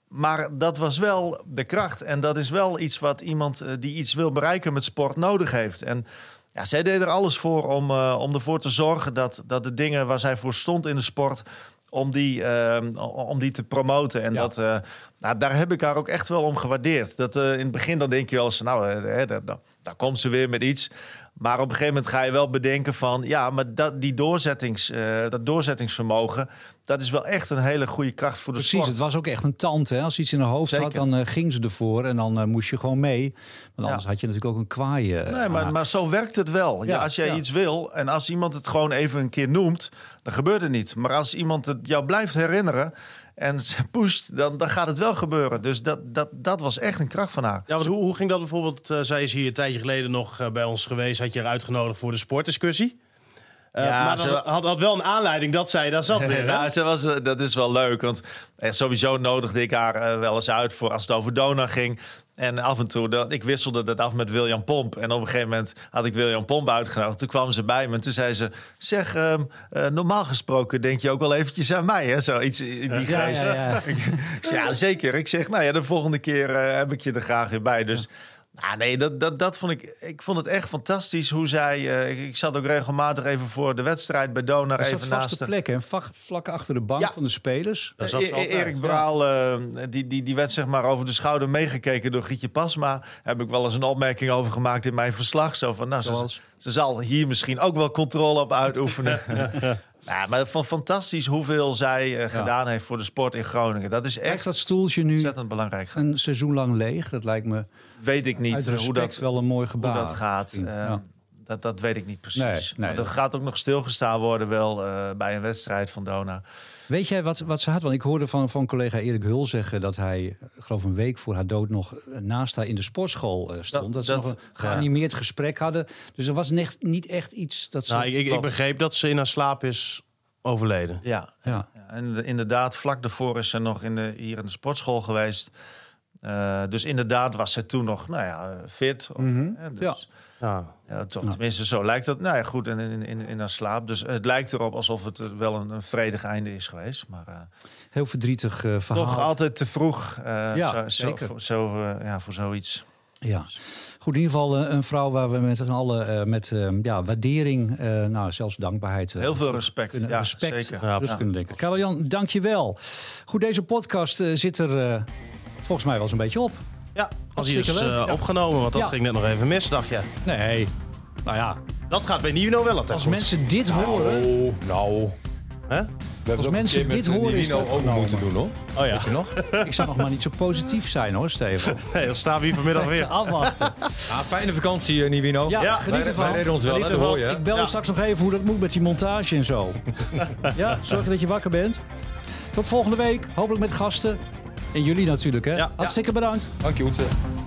[SPEAKER 7] Maar dat was wel de kracht. En dat is wel iets wat iemand eh, die iets wil bereiken met sport nodig heeft. En ja, zij deed er alles voor om, eh, om ervoor te zorgen dat, dat de dingen waar zij voor stond in de sport. Om die, eh, o- om die te promoten. En
[SPEAKER 2] Ja.
[SPEAKER 7] dat, eh, nou, daar heb ik haar ook echt wel om gewaardeerd. Dat, eh, in het begin dan denk je wel eens, nou, eh, hè, daar, daar- daar komt ze weer met iets. Maar op een gegeven moment ga je wel bedenken van... ja, maar dat, die doorzettings, eh, dat doorzettingsvermogen... dat is wel echt een hele goede kracht voor de
[SPEAKER 2] Precies, het
[SPEAKER 7] sport.
[SPEAKER 2] was ook echt een tante. Hè? Als ze iets in haar hoofd
[SPEAKER 7] Zeker.
[SPEAKER 2] had, dan eh, ging ze ervoor en dan eh, moest je gewoon mee. Want anders
[SPEAKER 7] Ja.
[SPEAKER 2] had je natuurlijk ook een kwaai. eh,
[SPEAKER 7] Nee, maar,
[SPEAKER 2] aan.
[SPEAKER 7] maar zo werkt het wel. Ja,
[SPEAKER 2] Ja,
[SPEAKER 7] als jij
[SPEAKER 2] ja.
[SPEAKER 7] iets wil en als iemand het gewoon even een keer noemt... dan gebeurt het niet. Maar als iemand het jou blijft herinneren en ze pusht... dan, dan gaat het wel gebeuren. Dus dat, dat, dat was echt een kracht van haar.
[SPEAKER 4] Ja, want hoe, hoe ging dat bijvoorbeeld? eh, zij is hier een tijdje geleden nog eh, bij ons geweest. Had je haar uitgenodigd voor de sportdiscussie. Eh,
[SPEAKER 7] Ja,
[SPEAKER 4] maar dat
[SPEAKER 7] ze-
[SPEAKER 4] had, had wel een aanleiding dat zij daar zat weer. hè?
[SPEAKER 7] Nou, ze was, dat is wel leuk, want eh, sowieso nodigde ik haar eh, wel eens uit voor als het over Dona ging. En af en toe, dat, ik wisselde dat af met William Pomp. En op een gegeven moment had ik William Pomp uitgenodigd. Toen kwam ze bij me en toen zei ze... Zeg, ehm, eh, normaal gesproken denk je ook wel eventjes aan mij, hè? Zoiets in die
[SPEAKER 2] ja,
[SPEAKER 7] geest.
[SPEAKER 2] ja, ja.
[SPEAKER 7] Ik zei, ja, zeker. Ik zeg, nou ja, de volgende keer eh, heb ik je er graag weer bij. Dus ah, nee, dat, dat, dat vond ik... Ik vond het echt fantastisch hoe zij... eh, ik, ik zat ook regelmatig even voor de wedstrijd bij Dona
[SPEAKER 2] Dat is
[SPEAKER 7] even
[SPEAKER 2] een
[SPEAKER 7] naast
[SPEAKER 2] vaste
[SPEAKER 7] de-
[SPEAKER 2] plek, hè? Vlak, vlak achter de bank
[SPEAKER 7] Ja.
[SPEAKER 2] van de spelers.
[SPEAKER 4] Daar zat
[SPEAKER 7] E-
[SPEAKER 4] ze altijd.
[SPEAKER 7] Erik Braal, eh, die, die, die werd zeg maar over de schouder meegekeken door Gietje Pasma. Heb ik wel eens een opmerking over gemaakt in mijn verslag. Zo van, nou, ze,
[SPEAKER 2] Zoals?
[SPEAKER 7] ze zal hier misschien ook wel controle op uitoefenen. ja, maar van fantastisch hoeveel zij eh, gedaan heeft voor de sport in Groningen. Dat is
[SPEAKER 2] Echt
[SPEAKER 7] echt
[SPEAKER 2] dat stoeltje nu
[SPEAKER 7] ontzettend belangrijk.
[SPEAKER 2] een seizoen lang leeg. Dat lijkt me
[SPEAKER 7] Weet ik
[SPEAKER 2] uit
[SPEAKER 7] niet
[SPEAKER 2] respect
[SPEAKER 7] eh, hoe dat,
[SPEAKER 2] wel een mooi
[SPEAKER 7] hoe
[SPEAKER 2] gebaar.
[SPEAKER 7] dat gaat.
[SPEAKER 2] Ja.
[SPEAKER 7] Eh, dat, dat weet ik niet precies.
[SPEAKER 2] Nee, nee,
[SPEAKER 7] maar er
[SPEAKER 2] dat-
[SPEAKER 7] gaat ook nog stilgestaan worden wel eh, bij een wedstrijd van Dona.
[SPEAKER 2] Weet jij wat, wat ze had? Want ik hoorde van, van collega Erik Hul zeggen dat hij, ik geloof een week voor haar dood, nog naast haar in de sportschool eh, stond.
[SPEAKER 7] Dat-
[SPEAKER 2] Dat, ze
[SPEAKER 7] dat-
[SPEAKER 2] nog een geanimeerd gesprek hadden. Dus er was nech- niet echt iets dat ze.
[SPEAKER 4] Nou, ik, ik, ik begreep dat ze in haar slaap is overleden.
[SPEAKER 7] Ja,
[SPEAKER 2] ja.
[SPEAKER 7] Ja, en de- inderdaad, vlak daarvoor is ze nog in de, hier in de sportschool geweest. Eh, dus inderdaad was ze toen nog, nou ja, eh, fit. Of,
[SPEAKER 2] Mhm.
[SPEAKER 7] hè, dus,
[SPEAKER 4] Ja.
[SPEAKER 7] ja. toch, Tenminste, zo lijkt dat. Nou ja, goed, en in, in, in haar slaap. Dus het lijkt erop alsof het eh, wel een, een vredig einde is geweest. Maar eh,
[SPEAKER 2] Heel verdrietig eh, verhaal.
[SPEAKER 7] toch altijd te vroeg eh,
[SPEAKER 2] Ja,
[SPEAKER 7] zo, zo-
[SPEAKER 2] zeker.
[SPEAKER 7] voor, zo, eh, ja, voor zoiets.
[SPEAKER 2] Ja, goed. In ieder geval eh, een vrouw waar we met z'n allen eh, met eh, ja, waardering, eh, nou zelfs dankbaarheid. eh,
[SPEAKER 7] Heel veel respect.
[SPEAKER 2] kunnen-
[SPEAKER 7] ja,
[SPEAKER 2] respect
[SPEAKER 7] zeker.
[SPEAKER 2] terug
[SPEAKER 7] Ja.
[SPEAKER 2] kunnen denken. Karel-Jan, dank je wel. Goed, deze podcast eh, zit er eh, volgens mij wel eens een beetje op.
[SPEAKER 4] Ja, als hier is
[SPEAKER 2] Hartstikke
[SPEAKER 4] eh, opgenomen, want dat
[SPEAKER 2] Ja.
[SPEAKER 4] ging net nog even mis, dacht je.
[SPEAKER 2] Nee, nou ja,
[SPEAKER 4] Dat gaat bij Nino wel altijd
[SPEAKER 2] als
[SPEAKER 4] goed.
[SPEAKER 2] mensen dit horen...
[SPEAKER 3] Oh, nou.
[SPEAKER 4] Hè?
[SPEAKER 3] We hebben
[SPEAKER 2] mensen dit horen, is
[SPEAKER 3] Nino
[SPEAKER 2] het
[SPEAKER 3] ook eh, moeten doen, hoor.
[SPEAKER 4] Oh ja,
[SPEAKER 2] Ik zou nog maar niet zo positief zijn hoor, Steven.
[SPEAKER 4] nee, dan staan we hier vanmiddag weer.
[SPEAKER 2] Afwachten.
[SPEAKER 3] Ah, fijne vakantie, eh, Nivino.
[SPEAKER 2] Ja,
[SPEAKER 4] Ja,
[SPEAKER 2] geniet
[SPEAKER 3] wij,
[SPEAKER 2] ervan.
[SPEAKER 3] wij redden ons wel, hè,
[SPEAKER 4] Geniet
[SPEAKER 3] dat
[SPEAKER 4] ervan.
[SPEAKER 3] hoor je. hè?
[SPEAKER 2] Ik bel
[SPEAKER 4] Ja.
[SPEAKER 2] je straks nog even hoe dat moet met die montage en zo. ja, zorg dat je wakker bent. Tot volgende week. Hopelijk met gasten. En jullie natuurlijk, hè?
[SPEAKER 4] Ja.
[SPEAKER 2] Hartstikke bedankt.
[SPEAKER 3] Dank je, Hoetse.